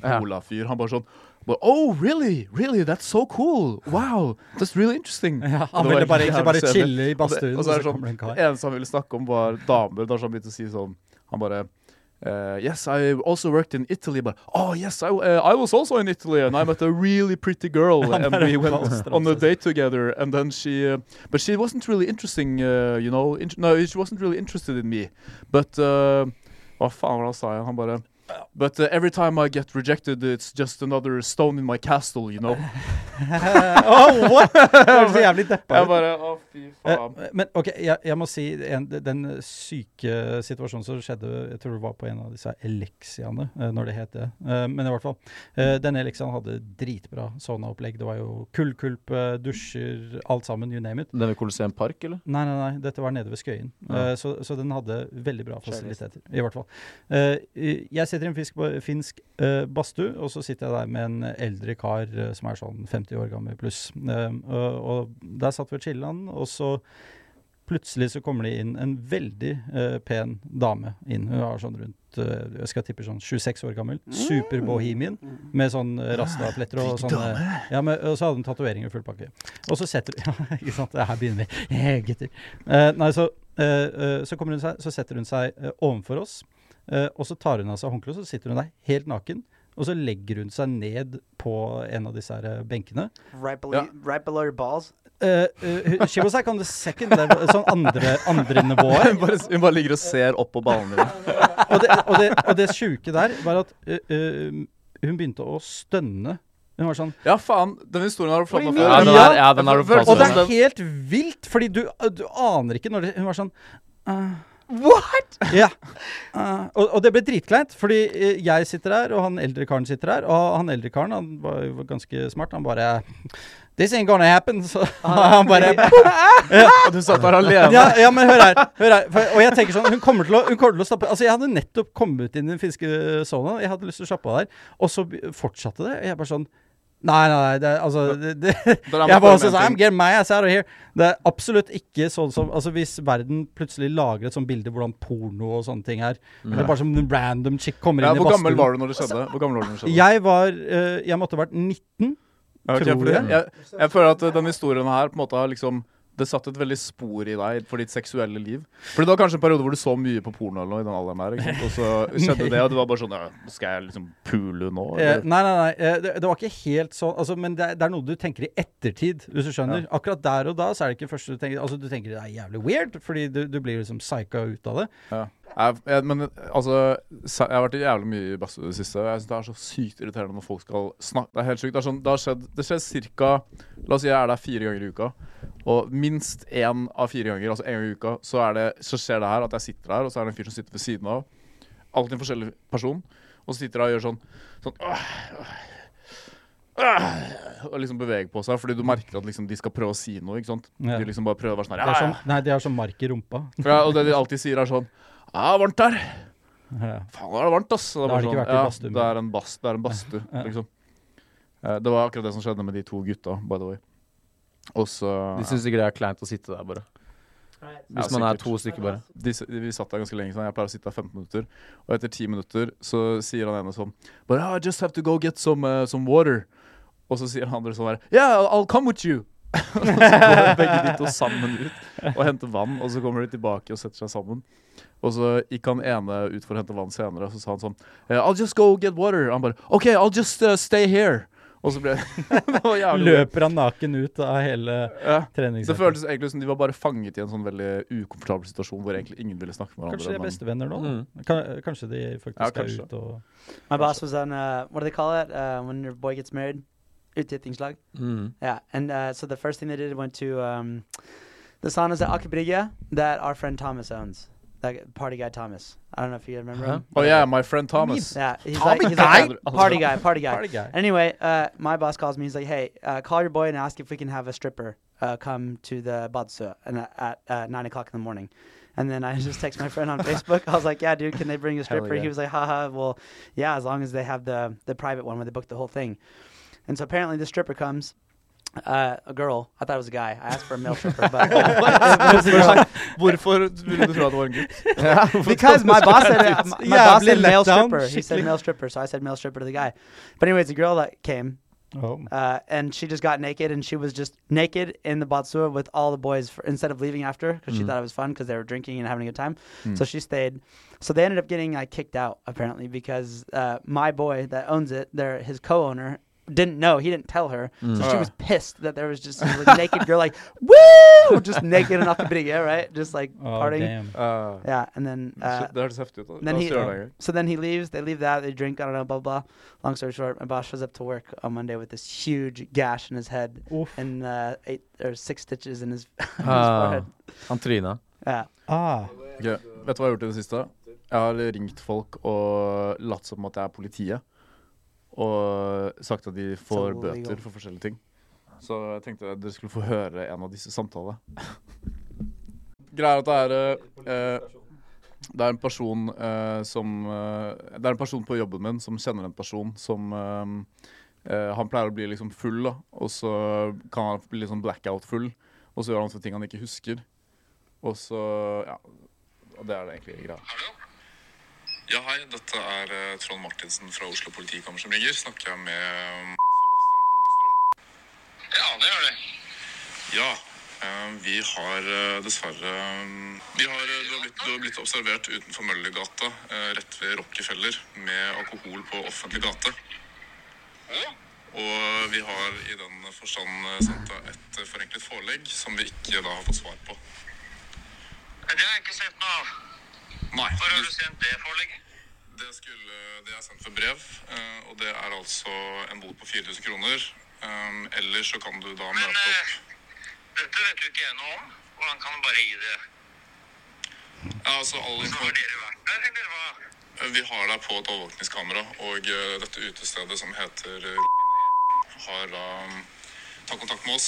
Speaker 4: Ola-fyr. Han bare sånn bare, Oh, really? Really? That's so cool! Wow! That's really interesting!
Speaker 3: Ja,
Speaker 4: Det
Speaker 3: han
Speaker 4: var
Speaker 3: ville bare,
Speaker 4: jævlig
Speaker 3: egentlig bare
Speaker 4: kjedelig.
Speaker 3: chille i
Speaker 4: Og det-
Speaker 3: badstuen,
Speaker 4: og
Speaker 3: og
Speaker 4: så er
Speaker 3: så
Speaker 4: det sånn-
Speaker 3: kommer det en kar.
Speaker 4: det eneste han ville snakke om, var damer. Da han begynte å si sånn Han bare eh, yes, I also worked in Italy. Bare, oh yes, I, eh, I was also in Italy, and I met a really pretty girl, and we went on a date together. And then she, eh, but she wasn't really interesting, eh, you know. int- no, she wasn't really interested in me. But eh, hva faen var det han sa igjen? Han bare But eh, every time I get rejected, it's just another stone in my castle, you know.
Speaker 3: oh, what?! Det høres så jævlig deppa
Speaker 4: Jeg
Speaker 3: ut.
Speaker 4: bare, å fy faen.
Speaker 3: Eh, Men ok, jeg, jeg må si en, den syke situasjonen som skjedde Jeg tror det var på en av disse Elexiaene, eh, når det het det. Eh, Men i hvert fall. eh, Denne Elexiaen hadde dritbra saunaopplegg. Det var jo kullkulpe, dusjer, alt sammen. You name it.
Speaker 5: Den ved Colosseum Park, eller?
Speaker 3: Nei, nei, nei, dette var nede ved Skøyen.
Speaker 5: Ja.
Speaker 3: Eh, så, så den hadde veldig bra
Speaker 6: Kjærlighet.
Speaker 3: fasiliteter, i hvert fall. Eh, i- jeg sitter i en fisk, finsk eh, badstue, og så sitter jeg der med en eldre kar eh, som er sånn 50 år gammel pluss. Eh, og, og der satt vi og chilla'n, og så plutselig så kommer det inn en veldig eh, pen dame inn. Hun er sånn rundt eh, jeg skal tippe sånn 26 år gammel. Superbohemian.
Speaker 6: Mm.
Speaker 3: Med sånn eh, rastafletter og sånn. eh, Ja, men, og så hadde hun tatoveringer og full pakke. Og så setter Ja, ikke sant. Her begynner vi. Gutter. Eh, nei, så, eh, eh, så kommer hun seg, så setter hun seg eh, ovenfor oss. eh, og så tar hun av seg håndkleet, og så sitter hun der helt naken. Og så legger hun seg ned på en av disse her eh, benkene.
Speaker 6: Right below,
Speaker 4: Yeah.
Speaker 6: right below your balls.
Speaker 3: Eh, eh, she was like on the second level, sånn andre, andre nivået.
Speaker 4: Hun bare, hun bare ligger og ser opp på ballene dine.
Speaker 3: og, det, og, det, og det sjuke der var at ø, ø, hun begynte å stønne. Hun var sånn
Speaker 4: Ja, faen. Den historien har du fortalt meg før.
Speaker 5: Ja, den
Speaker 3: Ja.
Speaker 5: er, ja, den er du
Speaker 4: Og
Speaker 3: Og det er
Speaker 4: den-
Speaker 3: helt vilt, fordi du, du aner ikke når det Hun var sånn What?! Ja. eh, og, og det ble dritkleint, fordi eh, jeg sitter her, og han eldre karen sitter her. Og han eldre karen han var jo ganske smart. Han bare This ain't gonna happen. Så han bare
Speaker 4: Og du satt der alene.
Speaker 3: ja, ja, men hør her. Hør her. For, og jeg tenker sånn, hun kommer til å, hun kommer til å stappe Altså, jeg hadde nettopp kommet inn i den finske sona. Jeg hadde lyst til å slappe av der. Og så be- fortsatte det. Og jeg bare sånn Nei, nei, nei, det, er- altså det, det,
Speaker 4: Da la meg
Speaker 3: Jeg
Speaker 4: bare
Speaker 3: bare
Speaker 4: med en
Speaker 3: sånn I'm
Speaker 4: ting.
Speaker 3: getting my ass out of here. Det er absolutt ikke sånn som Altså, hvis verden plutselig lager et sånt bilde hvordan porno og sånne ting er Eller bare som en random chick kommer
Speaker 4: Ja,
Speaker 3: inn i
Speaker 4: hvor gammel
Speaker 3: badstuen
Speaker 4: var du når det skjedde? Hvor gammel var du når det skjedde?
Speaker 3: Jeg var eh, Jeg måtte ha vært 19.
Speaker 4: Ja, ok,
Speaker 3: tror
Speaker 4: fordi
Speaker 3: jeg.
Speaker 4: jeg, jeg føler at eh, denne historien her på en måte har liksom det satt et veldig spor i deg for ditt seksuelle liv. Fordi det var kanskje en periode hvor du så mye på porno eller noe i den alderen der, ikke sant? og så skjedde det, og du var bare sånn ja, Skal jeg liksom pule nå?
Speaker 3: Eh,
Speaker 4: Eller?
Speaker 3: nei, nei, nei. eh, Det, det var ikke helt sånn altså, Men det er, det er noe du tenker i ettertid, hvis du skjønner. Akkurat der og da så er det ikke det første du tenker. Altså, du tenker det er jævlig weird, fordi du, du blir liksom psyka ut av det.
Speaker 4: Ja. Jeg, jeg, men altså sa- Jeg har vært i jævlig mye i badstue i det siste. og Jeg synes Det er så sykt irriterende når folk skal snakke. Det er helt sykt. Det, er sånn, det har skjedd Det skjer cirka La oss si jeg er der fire ganger i uka. Og minst én av fire ganger, altså én gang i uka, så, er det, så skjer det her at jeg sitter der, og så er det en fyr som sitter ved siden av. øh, Alltid en forskjellig person. Og så sitter jeg og gjør sånn Sånn «Åh, åh».
Speaker 7: «Åh!» og liksom bevege på seg, fordi du merker at liksom de skal prøve å si noe. ikke sant?
Speaker 3: Ja.
Speaker 7: De liksom bare prøver å være sånn
Speaker 3: De
Speaker 7: her,
Speaker 3: har
Speaker 7: ja,
Speaker 3: sånn, nei, de har sånn mark i rumpa.
Speaker 7: ja. ja, Og det de alltid sier, er sånn Ja, varmt her.
Speaker 3: Ja.
Speaker 7: Faen, er det varmt, ass. Og
Speaker 3: Da har
Speaker 7: det er
Speaker 3: de ikke vært i
Speaker 7: bare
Speaker 3: badstuen.
Speaker 7: sånn, ja, det er en bast, det er en badstue,
Speaker 3: Ja.
Speaker 7: liksom. Eh, Det var akkurat det som skjedde med de to gutta, by the way. Og så
Speaker 5: De syns sikkert det er kleint å sitte der, bare. Hvis
Speaker 7: Ja,
Speaker 5: man er
Speaker 7: sikkert.
Speaker 5: to stykker, bare.
Speaker 7: de, s- vi satt der ganske lenge, sånn. jeg pleier å sitte der 15 minutter. Og etter 10 minutter så sier han ene sånn But I just have to go get some, uh, some water. Og så sier han andre sånn her Yeah, I'll- I'll come with you. og så går begge de to sammen ut og henter vann, og så kommer de tilbake og setter seg sammen. Og så gikk han ene ut for å hente vann senere, og så sa han sånn «Eh, I'll just go get water. Og han bare OK, I'll just uh, stay here. Og så ble det var jævlig weird.
Speaker 3: Løper han naken ut av hele
Speaker 7: Ja. Det
Speaker 3: treningssenteret?
Speaker 7: føltes egentlig som de var bare fanget i en sånn veldig ukomfortabel situasjon hvor egentlig ingen ville snakke med hverandre.
Speaker 3: Kanskje de er
Speaker 7: men-
Speaker 3: bestevenner nå?
Speaker 5: Mm.
Speaker 3: da? Kan- Kanskje de faktisk
Speaker 7: Ja,
Speaker 3: er
Speaker 7: kanskje.
Speaker 3: ute og
Speaker 6: My boss was on uh, what do they call it uh, when your boy gets married? Utgiftningslag.
Speaker 5: Mm.
Speaker 6: Yeah, and uh, so the first thing they did went to um, the saunas at Akibrigya that our friend Thomas owns. That party guy Thomas. I don't know if you remember him.
Speaker 7: Oh yeah, my friend Thomas.
Speaker 6: Yeah, he's
Speaker 7: Tommy
Speaker 6: like, he's like
Speaker 7: guy?
Speaker 6: a party guy, party guy.
Speaker 3: Party guy.
Speaker 6: Anyway, uh, my boss calls me. He's like, "Hey, uh, call your boy and ask if we can have a stripper uh, come to the badsu and uh, at uh, nine o'clock in the morning." And then I just text my friend on Facebook. I was like, "Yeah, dude, can they bring a stripper?"
Speaker 5: yeah.
Speaker 6: He was like, "Haha, well, yeah, as long as they have the the private one where they book the whole thing." And so apparently, the stripper comes. Uh, a girl. I thought it was a guy. I asked for a male stripper, but
Speaker 7: Hvorfor ville du tro at det var en gutt?
Speaker 6: because my boss said uh, my
Speaker 3: Yeah,
Speaker 6: boss said
Speaker 3: let
Speaker 6: male
Speaker 3: down.
Speaker 6: stripper. He said male stripper, so I said male stripper to the guy. But anyways, the girl that came,
Speaker 3: oh.
Speaker 6: uh, and she just got naked and she was just naked in the batsua with all the boys for, instead of leaving after because
Speaker 3: Mm-hmm.
Speaker 6: she thought it was fun because they were drinking and having a good time
Speaker 3: Mm.
Speaker 6: so she stayed so they ended up getting like kicked out apparently because uh, my boy that owns it their his co-owner didn't know he didn't tell her
Speaker 3: Mm.
Speaker 6: so
Speaker 3: Oh.
Speaker 6: she was pissed that there was just this, like, naked girl like woo just naked and off the big air right just like
Speaker 3: Oh,
Speaker 6: partying
Speaker 3: damn.
Speaker 6: yeah and then uh,
Speaker 7: det høres heftig ut. da. La
Speaker 6: then
Speaker 7: oss
Speaker 6: he,
Speaker 7: gjøre det en gang.
Speaker 6: Oh, so then he leaves. They leave that. They drink. I don't know. Blah blah. Long story short, my boss shows up to work on Monday with this huge gash in his head
Speaker 3: Oof.
Speaker 6: and uh, eight or six stitches in his, in his
Speaker 5: Ah,
Speaker 6: forehead.
Speaker 5: han tryna.
Speaker 6: Yeah.
Speaker 3: Ah,
Speaker 7: Ok, Vet du hva jeg har gjort i det siste? Jeg har ringt folk og latt som at jeg er politiet. Og sagt at de får
Speaker 6: Så legal.
Speaker 7: bøter for forskjellige ting. Så jeg tenkte at dere skulle få høre en av disse samtalene. Greia er at det er eh, det er en person eh, som eh, Det er en person på jobben min som kjenner en person som eh, eh, Han pleier å bli liksom full, da, og så kan han bli litt sånn blackout-full. Og så gjør han sånne ting han ikke husker. Og så Ja. Og det er det egentlig greia.
Speaker 4: Ja, hei. Dette er eh, Trond Martinsen fra Oslo politikammer som ringer. Snakker jeg med um, Ja, det gjør det. Ja. eh, Vi har eh, dessverre um, vi har, eh, du, har blitt, du har blitt observert utenfor Møllergata, eh, rett ved Rockefeller, med alkohol på offentlig gate. Og vi har i den forstand eh, sendt deg et eh, forenklet forelegg som vi ikke da har fått svar på.
Speaker 9: Det har jeg ikke sett noe av.
Speaker 4: Nei.
Speaker 9: Hvor har du sendt det forelegget?
Speaker 4: Det, skulle, det er sendt for brev, eh, og det er altså en bot på 4000 kroner. Um, Eller så kan du da
Speaker 9: Men
Speaker 4: møte
Speaker 9: eh,
Speaker 4: opp
Speaker 9: dette vet jo ikke jeg noe om. Hvordan kan du bare gi det?
Speaker 4: ja, altså, all
Speaker 9: Så
Speaker 4: inform-
Speaker 9: har
Speaker 4: Eh,
Speaker 9: dere vært der, eller hva?
Speaker 4: Vi har deg på et overvåkningskamera, og eh, dette utestedet som heter eh, har da um, tatt kontakt med oss.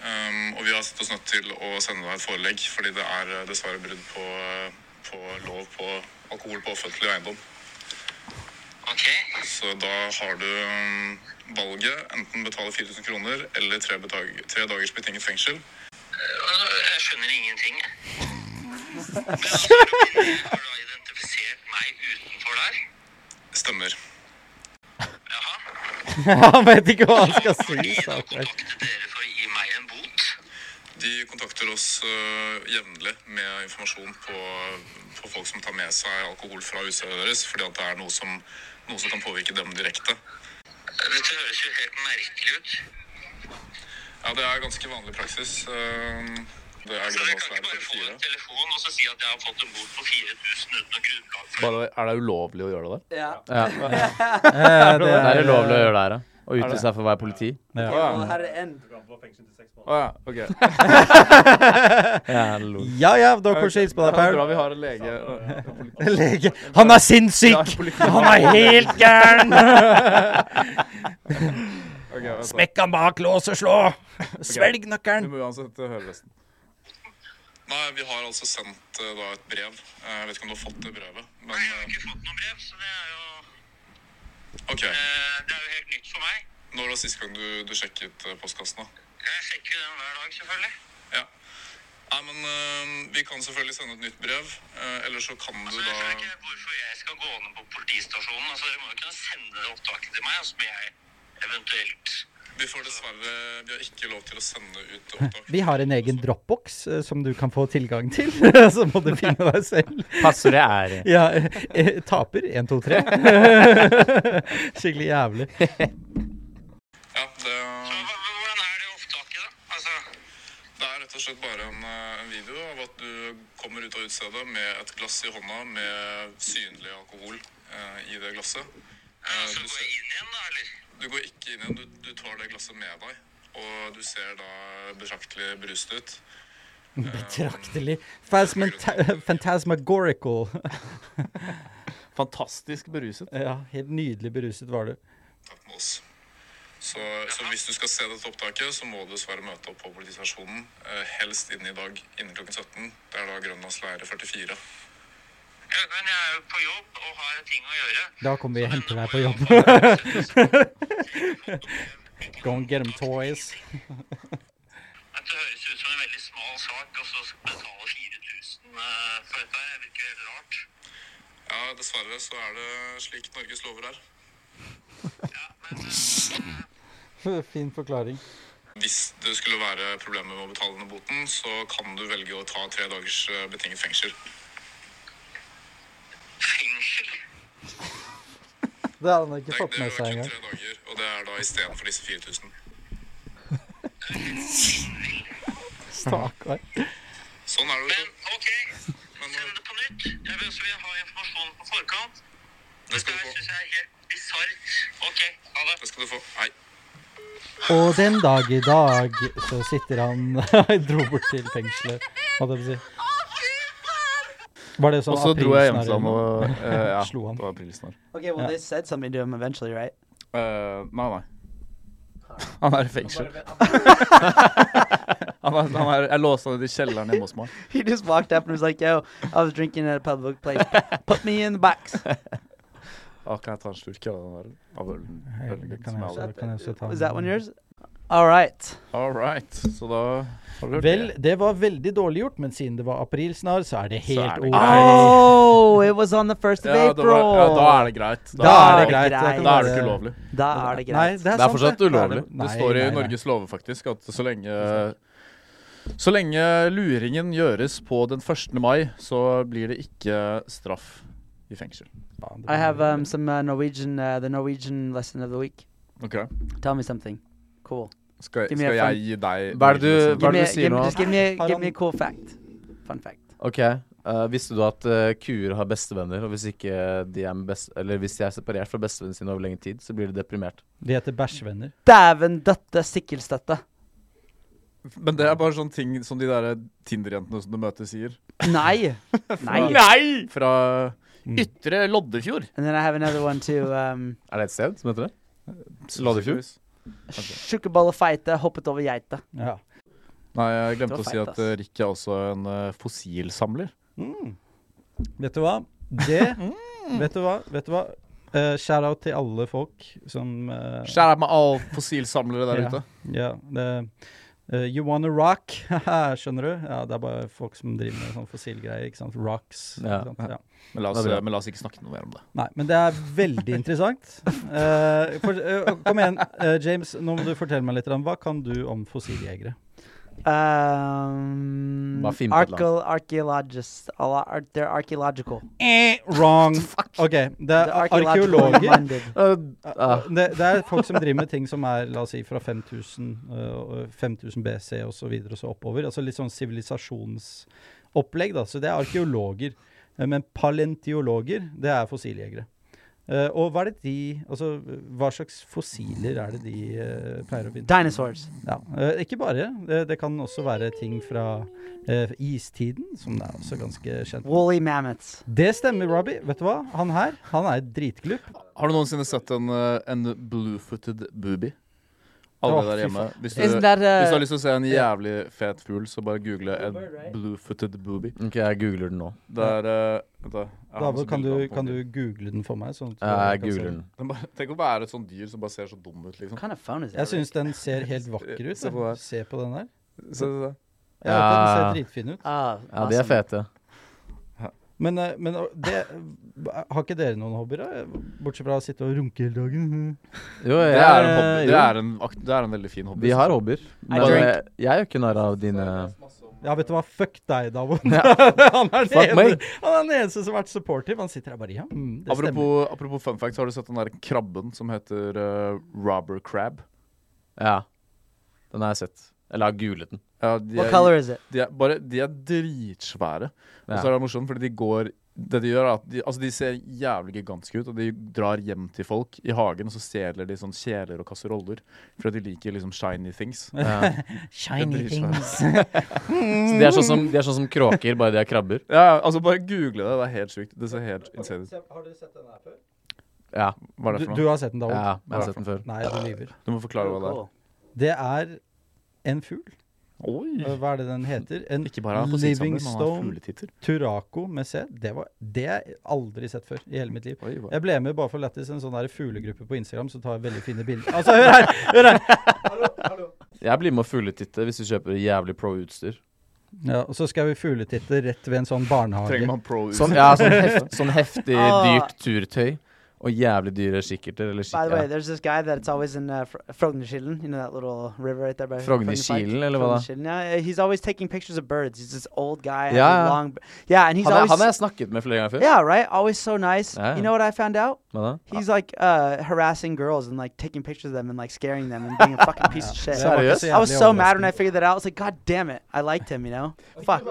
Speaker 4: Um, Og vi har sett oss nødt til å sende deg et forelegg, fordi det er eh, dessverre brudd på, eh, på lov på alkohol på offentlig eiendom.
Speaker 9: Ok,
Speaker 4: Så da har du mm, valget enten betale 4000 kroner eller tre, betag, tre dagers betinget fengsel.
Speaker 9: altså, jeg skjønner ingenting. jeg. Men altså, har du identifisert meg utenfor der?
Speaker 4: Stemmer.
Speaker 9: Jaha.
Speaker 3: han vet ikke hva han skal si.
Speaker 9: De da
Speaker 3: stakkars.
Speaker 9: kontaktet dere for å gi meg en bot?
Speaker 4: De kontakter oss øh, jevnlig med informasjon på, på folk som tar med seg alkohol fra utstedet deres, fordi at det er noe som, noe som kan påvirke dem direkte.
Speaker 9: Dette høres jo helt merkelig ut.
Speaker 4: Ja, det er ganske vanlig praksis. øhm, Det er
Speaker 9: Altså,
Speaker 4: grønn
Speaker 9: jeg
Speaker 4: og
Speaker 9: kan ikke
Speaker 4: svær
Speaker 9: bare få en
Speaker 4: 44.
Speaker 9: telefon og så si at jeg har fått en bot på 4000 uten noe grunnlag for det.
Speaker 7: Bare, er det ulovlig å gjøre det der?
Speaker 5: Ja.
Speaker 3: Eh,
Speaker 5: Det er ulovlig å gjøre det her, ja. Og
Speaker 7: Er det-
Speaker 5: utgi seg for å være politi.
Speaker 3: Ja.
Speaker 7: Å,
Speaker 6: Well,
Speaker 7: ja.
Speaker 6: how did it end?
Speaker 7: Å, ja. OK.
Speaker 5: Ja, lol.
Speaker 3: Ja ja, da kanskje hils på
Speaker 7: Det er
Speaker 3: deg,
Speaker 7: bra
Speaker 3: Paul.
Speaker 7: vi har en lege. og-
Speaker 3: Lege. Han er
Speaker 7: Ja,
Speaker 3: sinnssyk!
Speaker 7: politi-
Speaker 3: Han er helt gæren!
Speaker 7: Ok, vent da.
Speaker 3: Smekk han bak lås og slå! Svelg
Speaker 7: Vi
Speaker 3: nøkkelen!
Speaker 7: må uansett høre resten.
Speaker 4: Nei, vi har altså sendt eh, da et brev. Eh, Jeg vet ikke om du har fått det brevet, men
Speaker 9: Nei, jeg har
Speaker 4: eh,
Speaker 9: ikke fått noe brev, så det er jo,
Speaker 4: OK.
Speaker 9: eh, det er jo helt nytt for meg.
Speaker 4: Når var sist gang du, du sjekket eh, postkassen, da?
Speaker 9: Jeg sjekker jo den hver dag, selvfølgelig. Altså,
Speaker 4: Ja. Nei, men eh, vi kan selvfølgelig sende et nytt brev. eh, Eller så kan du
Speaker 9: Så Altså, jeg skjønner
Speaker 4: da
Speaker 9: ikke hvorfor jeg skal gå ned på politistasjonen. Altså, Dere må jo kunne sende det opptaket til meg, og så må jeg eventuelt
Speaker 4: Vi får dessverre Vi har ikke lov til å sende ut opptak.
Speaker 3: Vi har en egen dropbox eh, som du kan få tilgang til. Så må du finne deg selv.
Speaker 7: Altså,
Speaker 5: Passordet er
Speaker 3: Ja, eh, eh, taper. 1, 2, 3. Skikkelig jævlig.
Speaker 4: Ja, det,
Speaker 9: Så hva- hva- Hvordan er det opptaket, da? Altså,
Speaker 4: det er rett og slett bare en, eh, en video av at du kommer ut av utestedet med et glass i hånda med synlig alkohol eh, i det glasset. Eh,
Speaker 9: så
Speaker 4: du
Speaker 9: altså, går
Speaker 4: ser-
Speaker 9: jeg inn igjen, da, eller?
Speaker 4: Du går ikke inn igjen, du, du tar det glasset med deg, og du ser da betraktelig brust ut.
Speaker 3: Betraktelig. Phasmenta- Phantasmagorical.
Speaker 7: Fantastisk beruset.
Speaker 3: Ja, helt nydelig beruset var du.
Speaker 4: Takk med oss. Så, så hvis du skal se dette opptaket, så må du dessverre møte opp på politistasjonen, eh, helst innen i dag, innen klokken 17. Det er da Grønlands leire 44.
Speaker 9: Ja, men jeg er jo på jobb og har ting å gjøre.
Speaker 3: Da kommer vi og henter deg på jobb. Go and get 'em toys.
Speaker 9: At det høres ut som en veldig smal sak, og så skal man betale 4000 eh, for dette. her. Det virker helt rart.
Speaker 4: Ja, dessverre så er det slik Norges lover er.
Speaker 9: eh,
Speaker 3: Fin forklaring.
Speaker 4: Hvis det skulle være problemer med å betale denne boten, så kan du velge å ta tre dagers eh, betinget fengsel.
Speaker 9: Fengsel?
Speaker 3: Det hadde han ikke
Speaker 4: Det er,
Speaker 3: fått
Speaker 4: det
Speaker 3: med seg
Speaker 4: er kun
Speaker 3: engang.
Speaker 4: tre dager, og det er da istedenfor disse 4000.
Speaker 3: Stakkar.
Speaker 4: Sånn er det. eh,
Speaker 9: Men OK, send det på nytt. Jeg vil også vil ha informasjon på forkant.
Speaker 4: Det
Speaker 9: Dette
Speaker 4: skal
Speaker 9: her
Speaker 4: du få.
Speaker 9: syns jeg er helt bisart. OK, ha det.
Speaker 4: Det skal du få. Hei.
Speaker 3: Og den dag i dag så sitter han Dro bort til fengselet, holdt jeg på å si. Var det sånn
Speaker 7: Og så dro jeg hjem til
Speaker 3: aprilsnarr
Speaker 7: han
Speaker 3: eller
Speaker 7: og eh, Ja,
Speaker 3: Slo han.
Speaker 7: det var aprilsnarr.
Speaker 6: Okay, well,
Speaker 3: Yeah.
Speaker 6: they said something to him eventually, right?
Speaker 7: Eh, nei, nei. Han er i fengsel. han er, han er, jeg låste han ut i kjelleren hjemme hos meg.
Speaker 6: He just walked up and was like, yo, I was drinking at a public place. Put me in the box.
Speaker 7: Ah, kan jeg ta en slurk av den der av ølen?
Speaker 3: noe? Det
Speaker 7: ølen
Speaker 3: kan jeg
Speaker 7: som er
Speaker 3: også-
Speaker 7: over?
Speaker 3: det kan jeg også ta
Speaker 6: Was that one
Speaker 3: med.
Speaker 6: yours? All right.
Speaker 7: All right. Så da har du hørt
Speaker 3: Vel,
Speaker 7: det.
Speaker 3: det var veldig dårlig gjort, men siden det var aprilsnarr, så er det
Speaker 7: Så er
Speaker 3: helt
Speaker 7: det
Speaker 3: OK. Ah,
Speaker 7: greit.
Speaker 6: Oh, it was on the uh, 1st of
Speaker 7: Ja, da,
Speaker 6: April.
Speaker 7: var, ja, da er det greit.
Speaker 3: Da er det greit.
Speaker 6: greit.
Speaker 7: Da er det ikke ulovlig.
Speaker 6: Da er det
Speaker 3: Nei,
Speaker 6: greit.
Speaker 3: det er,
Speaker 5: Det er
Speaker 3: sant,
Speaker 5: fortsatt ulovlig.
Speaker 3: Nei,
Speaker 7: det står i
Speaker 3: nei, nei.
Speaker 7: Norges lover faktisk at så lenge Så lenge luringen gjøres på den 1. mai, så blir det ikke straff i fengsel.
Speaker 3: Faen, det
Speaker 6: I have
Speaker 3: var-
Speaker 6: um, some uh, Norwegian, uh, the Norwegian lesson of the week.
Speaker 7: Ok
Speaker 6: Tell me something. Cool.
Speaker 7: Skal,
Speaker 6: Give me a
Speaker 7: skal
Speaker 6: fun-
Speaker 7: jeg gi deg
Speaker 5: Hva er det du- hva
Speaker 6: Give me,
Speaker 5: er det
Speaker 6: a,
Speaker 5: du sier
Speaker 6: give,
Speaker 5: nå?
Speaker 6: just give me,
Speaker 3: Har
Speaker 6: a, give me a
Speaker 3: han-
Speaker 6: cool fact. Fun fact.
Speaker 5: OK. eh, visste du at eh, kuer har bestevenner, og hvis ikke de er, med best, eller hvis de er separert fra bestevennen sin over lenge tid, så blir de deprimert?
Speaker 3: De heter bæsjvenner.
Speaker 6: Dæven døtte sikkelstøtte.
Speaker 7: Men det er bare sånne ting som de der Tinder-jentene som du møter, sier.
Speaker 6: Nei. Nei.
Speaker 7: Nei! Fra
Speaker 3: Mm.
Speaker 7: Ytre Loddefjord.
Speaker 6: And then I have another one too. Um,
Speaker 5: Er det et sted som heter det? Loddefjord?
Speaker 6: Sjukkebollefighte hoppet over geita.
Speaker 3: Ja.
Speaker 7: Nei, jeg
Speaker 6: Det
Speaker 7: glemte
Speaker 6: var
Speaker 7: å si
Speaker 6: feit,
Speaker 7: at
Speaker 6: ass.
Speaker 7: eh, Rick er også en eh, fossilsamler.
Speaker 3: Vet du hva? Det
Speaker 6: Mm.
Speaker 3: Vet du hva? Vet du hva? Eh, Shout-out til alle folk som eh,
Speaker 7: Skjær av med alle fossilsamlere der
Speaker 3: Ja.
Speaker 7: ute.
Speaker 3: Ja, det eh, You wanna rock, Haha, skjønner du? Ja, Det er bare folk som driver med sånn fossilgreier, ikke sant? Rocks.
Speaker 5: Ja.
Speaker 3: Ikke sant? Ja.
Speaker 7: Men la, oss,
Speaker 5: Det er bra.
Speaker 7: men la oss ikke snakke noe mer om det.
Speaker 3: Nei, men det er veldig interessant. Eh, for, eh, kom igjen, eh, James, nå må du fortelle meg litt. om Hva kan du om fossiljegere?
Speaker 6: Um,
Speaker 5: Bare finn på et eller
Speaker 6: archeo- archaeologists. A lot, ar- they're archaeological.
Speaker 3: Eh, wrong! OK, det er
Speaker 6: They're archaeological
Speaker 3: arkeologer.
Speaker 6: minded.
Speaker 5: Ah.
Speaker 3: Det, det er folk som driver med ting som er la oss si, fra 5000, eh, og 5000 BC og så videre og så oppover. Altså litt sånn Øh, sivilisasjonsopplegg. da, Så det er arkeologer. Eh, Men palentiologer, det er fossiljegere. Eh, og hva er det de Altså, hva slags fossiler er det de eh, pleier å finne?
Speaker 6: Dinosaurs.
Speaker 3: Ja, eh, ikke bare. Det, det kan også være ting fra eh, istiden, som er også ganske kjent.
Speaker 6: Woolly mammoths.
Speaker 3: Det stemmer, Robbie. Vet du hva? Han her, han er dritglupp.
Speaker 7: Har du noensinne sett en, eh, en blue-footed boobie? Alle
Speaker 3: Å,
Speaker 7: der
Speaker 3: fy
Speaker 7: hjemme. Hvis du,
Speaker 10: Isn't
Speaker 7: hvis
Speaker 10: that
Speaker 7: du
Speaker 10: uh,
Speaker 7: har lyst til å se en jævlig fet fugl, så bare google en blue-footed boobie.
Speaker 5: Ok, jeg googler den nå.
Speaker 7: Det er eh, Vent, da. Jeg har
Speaker 3: David,
Speaker 7: masse
Speaker 3: kan du,
Speaker 7: bilder av den på
Speaker 3: kan du
Speaker 7: mobilen.
Speaker 3: google den for meg? Sånn at
Speaker 5: Jeg
Speaker 3: kan se
Speaker 5: googler den.
Speaker 7: Den bare, Tenk å være et sånt dyr som bare ser så dum ut, liksom.
Speaker 6: What kind of phone is that?
Speaker 3: Jeg syns den ser helt vakker ut.
Speaker 7: Se på
Speaker 3: da.
Speaker 7: der.
Speaker 3: Se på den der.
Speaker 7: Se, se, se.
Speaker 3: Jeg vet at
Speaker 5: Ja.
Speaker 3: den ser dritfin ut.
Speaker 6: Ah,
Speaker 5: Ja, de er
Speaker 6: awesome.
Speaker 5: fete.
Speaker 3: Men, eh, men eh, det, har ikke dere noen hobbyer, da? Bortsett fra å sitte og runke hele dagen.
Speaker 5: Jo,
Speaker 7: Det
Speaker 5: jeg,
Speaker 7: er en hobby.
Speaker 3: Eh,
Speaker 7: Det
Speaker 5: jo,
Speaker 7: er en, akt- det er en veldig fin hobby.
Speaker 5: vi har hobbyer. Men
Speaker 6: drink.
Speaker 5: jeg, jeg gjør ikke narr av dine
Speaker 3: Ja, vet du hva? Fuck deg, Davon.
Speaker 5: Ja.
Speaker 3: han, er den
Speaker 5: Fuck meg.
Speaker 3: eneste- han er den eneste som har vært supportive. Han sitter her bare Ja, mm, det stemmer.
Speaker 7: apropos, apropos fun fact, så har du sett den der krabben som heter uh, robber crab?
Speaker 5: Ja. Den har jeg sett. Eller jeg har googlet den.
Speaker 7: Ja, de,
Speaker 6: What
Speaker 7: er,
Speaker 6: color is it?
Speaker 7: de, er, bare, de er dritsvære. Og
Speaker 5: Ja.
Speaker 7: så er det morsomt, fordi de går Det de gjør, er at de, altså de ser jævlig gigantiske ut, og de drar hjem til folk i hagen, og så stjeler de sånn kjeler og kasseroller, fordi de liker liksom shiny things.
Speaker 5: Ja.
Speaker 7: Det
Speaker 11: Shiny
Speaker 7: bryr seg.
Speaker 11: things.
Speaker 5: Så de er sånn som, de er sånn som kråker, bare de er krabber.
Speaker 7: Ja, altså Bare google det. Det er helt sjukt. Det ser helt insane ut.
Speaker 3: Har du sett den her før?
Speaker 5: Ja,
Speaker 7: Hva er det for
Speaker 3: Du, du
Speaker 7: noe?
Speaker 3: har sett den, Davon?
Speaker 5: ja jeg har sett den før.
Speaker 3: Nei, du lyver.
Speaker 7: Du må forklare
Speaker 5: Oh,
Speaker 7: hva det er.
Speaker 6: Cool.
Speaker 3: Det er en fugl.
Speaker 7: Oi!
Speaker 3: Eh, Hva er det den heter? En
Speaker 7: Ikke bare er han på sidesamler, men han har
Speaker 3: Livingstone
Speaker 7: fugletitter.
Speaker 3: Turaco med C. Det har jeg aldri sett før i hele mitt liv.
Speaker 7: Oi, hva?
Speaker 3: Jeg ble med bare for lættis en sånn der fuglegruppe på Instagram som tar veldig fine bilder. Altså, hør her! hør her!
Speaker 5: Jeg blir med og fugletitte hvis du kjøper jævlig pro-utstyr.
Speaker 3: Ja, og så skal vi fugletitte rett ved en sånn
Speaker 7: Trenger
Speaker 3: barnehage.
Speaker 7: man pro
Speaker 5: Sånn, ja, sånn, heft, sånn heftig,
Speaker 6: Ah.
Speaker 5: dyrt turtøy. Og jævlig dyre kikkerter. Eller
Speaker 6: By the way,
Speaker 5: kikker,
Speaker 6: there's this guy that's always in uh, Fro- Frognerkilen. You know that little river right there by
Speaker 5: Frognerkilen, eller hva da?
Speaker 6: Frognerkilen, Yeah, he's always taking pictures of birds. He's this old guy. has a
Speaker 5: Yeah.
Speaker 6: Long, b- yeah, and he's
Speaker 5: han, er,
Speaker 6: always.
Speaker 5: han har jeg snakket med flere ganger før.
Speaker 6: yeah, right. Always so nice.
Speaker 5: Yeah.
Speaker 6: You know what I found out?
Speaker 5: Hva da?
Speaker 6: He's like uh, harassing girls and like taking pictures of them and like scaring them and being a fucking piece of shit.
Speaker 3: Det var ikke så
Speaker 6: I was
Speaker 3: jævlig
Speaker 6: so mad when I
Speaker 3: overraskende.
Speaker 6: figured that out. I was like, God damn it, I liked him, you know. Fuck.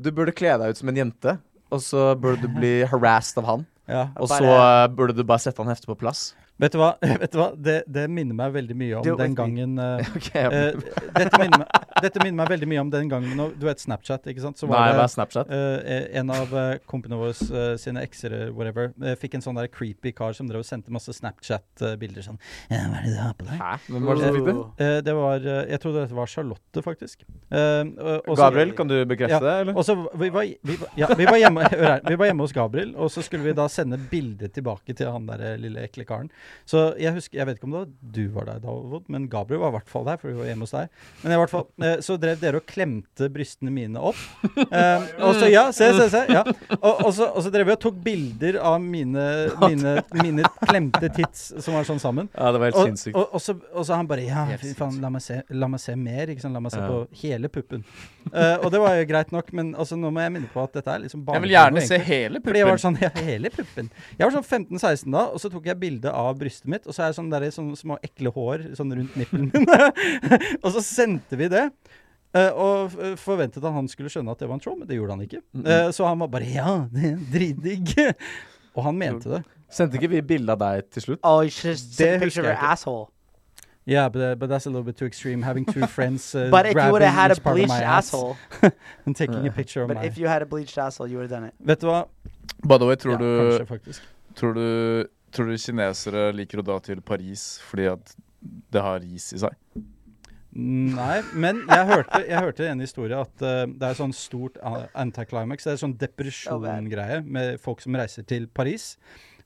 Speaker 5: Du burde kle deg ut som en jente, og så burde du bli harassed av han.
Speaker 3: Ja.
Speaker 5: Og
Speaker 6: Bare-
Speaker 5: så eh, burde du bare sette han hefte på plass.
Speaker 3: Vet du hva? Vet du hva? Det, det minner meg veldig mye om
Speaker 6: Do it
Speaker 3: den
Speaker 6: with me.
Speaker 3: gangen eh,
Speaker 5: Ok, jeg-
Speaker 3: eh, dette, minner meg, dette minner meg veldig mye om den gangen nå- Du vet Snapchat, ikke sant? Så
Speaker 5: Nei,
Speaker 3: var
Speaker 5: hva er
Speaker 3: det
Speaker 5: Snapchat?
Speaker 3: eh, en av uh, kompene våre eh, sine ekser eh, whatever, eh, fikk en sånn der creepy kar som drev og sendte masse Snapchat-bilder sånn «Ja, Hva er det du har på deg?
Speaker 5: Hæ? Hvem var det som fikk det?
Speaker 3: Eh, det var eh, Jeg trodde dette var Charlotte, faktisk. Eh, og- og så-
Speaker 5: Gabriel, kan du bekrefte
Speaker 3: Ja.
Speaker 5: det, eller?
Speaker 3: Og så vi var, vi, var- ja, vi, var hjemme, hør her, vi var hjemme hos Gabriel, og så skulle vi da sende bilde tilbake til han der eh, lille ekle karen. Så jeg husker, jeg vet ikke om det var du var der, Davod, men Gabriel var i hvert fall der. for vi var hjemme hos deg. Men i hvert fall, eh, Så drev dere og klemte brystene mine opp. Eh, og så, ja, se, se, se. Ja. Og, og, så, og så drev vi og tok bilder av mine, mine, mine klemte tits som var sånn sammen.
Speaker 5: Ja, det var helt
Speaker 3: Og,
Speaker 5: sinnssykt.
Speaker 3: og, og, så, og så han bare Ja,
Speaker 5: Helt
Speaker 3: fy faen, la meg se, la meg se mer. Ikke sant? La meg se
Speaker 5: Ja.
Speaker 3: på hele puppen. Eh, og det var jo greit nok, men altså, nå må jeg minne på at dette er liksom
Speaker 7: Jeg vil
Speaker 3: barneporno,
Speaker 7: gjerne se
Speaker 3: egentlig.
Speaker 7: hele
Speaker 3: Fordi jeg var
Speaker 7: puppen.
Speaker 3: sånn, ja, hele puppen. Jeg var sånn 15-16 da, og så tok jeg bilde av brystet mitt. Og så er det sånn der, sånne små ekle hår sånn rundt nippelen min. og så sendte vi det. eh, og f- forventet at han skulle skjønne at det var en troll, men det gjorde han ikke. Eh, så han var bare Ja, det er dritdigg. og han mente det.
Speaker 5: Sendte ikke vi bilde av deg til slutt?
Speaker 6: Oh, you should have sent a
Speaker 3: There,
Speaker 6: picture of her
Speaker 3: Skype.
Speaker 6: asshole.
Speaker 3: Yeah, but, uh, but that's a little bit too extreme. Having two friends uh,
Speaker 6: But if you would
Speaker 3: grabbing
Speaker 6: have had a
Speaker 3: each part of
Speaker 6: bleached
Speaker 3: my ass
Speaker 6: asshole,
Speaker 3: and taking a picture of
Speaker 6: but
Speaker 3: my
Speaker 6: if you had a bleached asshole, you would have done it.
Speaker 3: Vet du hva?
Speaker 7: By the way, tror
Speaker 3: Ja,
Speaker 7: du
Speaker 3: kanskje, faktisk.
Speaker 7: Tror du, tror du kinesere liker å dra til Paris fordi at det har ris i seg?
Speaker 3: Nei, men jeg hørte, jeg hørte en historie at uh, det er sånn stort a- anticlimax. Det er sånn depresjon-greie med folk som reiser til Paris.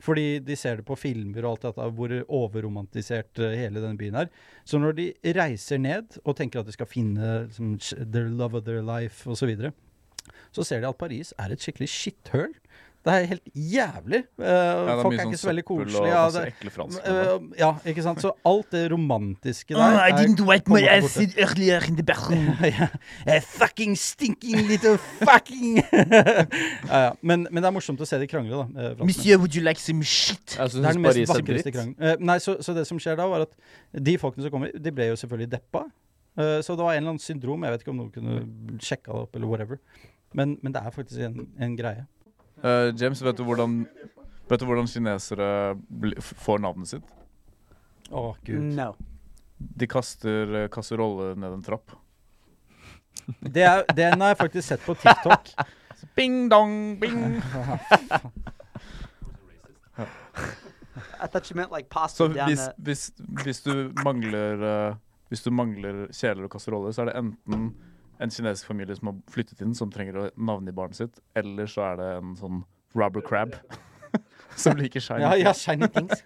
Speaker 3: Fordi de ser det på filmer og alt dette, hvor overromantisert uh, hele denne byen er. Så når de reiser ned og tenker at de skal finne liksom, their love of their life osv., så, videre, så ser de at Paris er et skikkelig skitthøl. Det er helt jævlig. Uh,
Speaker 7: Ja, det
Speaker 3: folk
Speaker 7: mye
Speaker 3: er
Speaker 7: sånn
Speaker 3: ikke så
Speaker 7: søppel
Speaker 3: veldig
Speaker 7: og
Speaker 3: koselige. Ja,
Speaker 7: masse
Speaker 3: det-
Speaker 7: ekle franskmenn.
Speaker 3: Øh, ja, ikke sant? Så alt det romantiske der
Speaker 11: Oh, I
Speaker 3: er-
Speaker 11: didn't wipe my
Speaker 3: kommer til
Speaker 11: ass
Speaker 3: borte.
Speaker 11: earlier in the bathroom.
Speaker 3: ja. Eh, Fucking stinking little fucking ja, ja. Men, men det er morsomt å se de krangle, da. eh, franskmenn.
Speaker 11: Monsieur, would you like some shit?
Speaker 5: Jeg
Speaker 3: Det er
Speaker 5: synes
Speaker 3: den mest
Speaker 5: Paris er
Speaker 3: vakreste
Speaker 5: dritt.
Speaker 3: krangelen. Eh, nei, så, så det som skjer da, var at de folkene som kommer, de ble jo selvfølgelig deppa. Eh, så det var en eller annen syndrom. Jeg vet ikke om noen kunne sjekka det opp, eller whatever. Men, men det er faktisk en, en greie.
Speaker 7: Eh, James, vet du hvordan Vet du hvordan kinesere bli- f- får navnet sitt?
Speaker 3: Å, gud.
Speaker 6: No.
Speaker 7: De kaster eh, kasseroller ned en trapp.
Speaker 3: Det er, den har jeg faktisk sett på TikTok.
Speaker 7: Bing dong, bing!
Speaker 6: I thought you meant like pasta
Speaker 7: Så
Speaker 6: down
Speaker 7: hvis,
Speaker 6: the
Speaker 7: hvis, hvis du mangler eh, Hvis du mangler kjeler og kasseroller, så er det enten en kinesisk familie som har flyttet inn, som trenger å navne i barnet sitt, eller så er det en sånn rubber crab som liker shiny.
Speaker 3: Ja, ja, shiny things.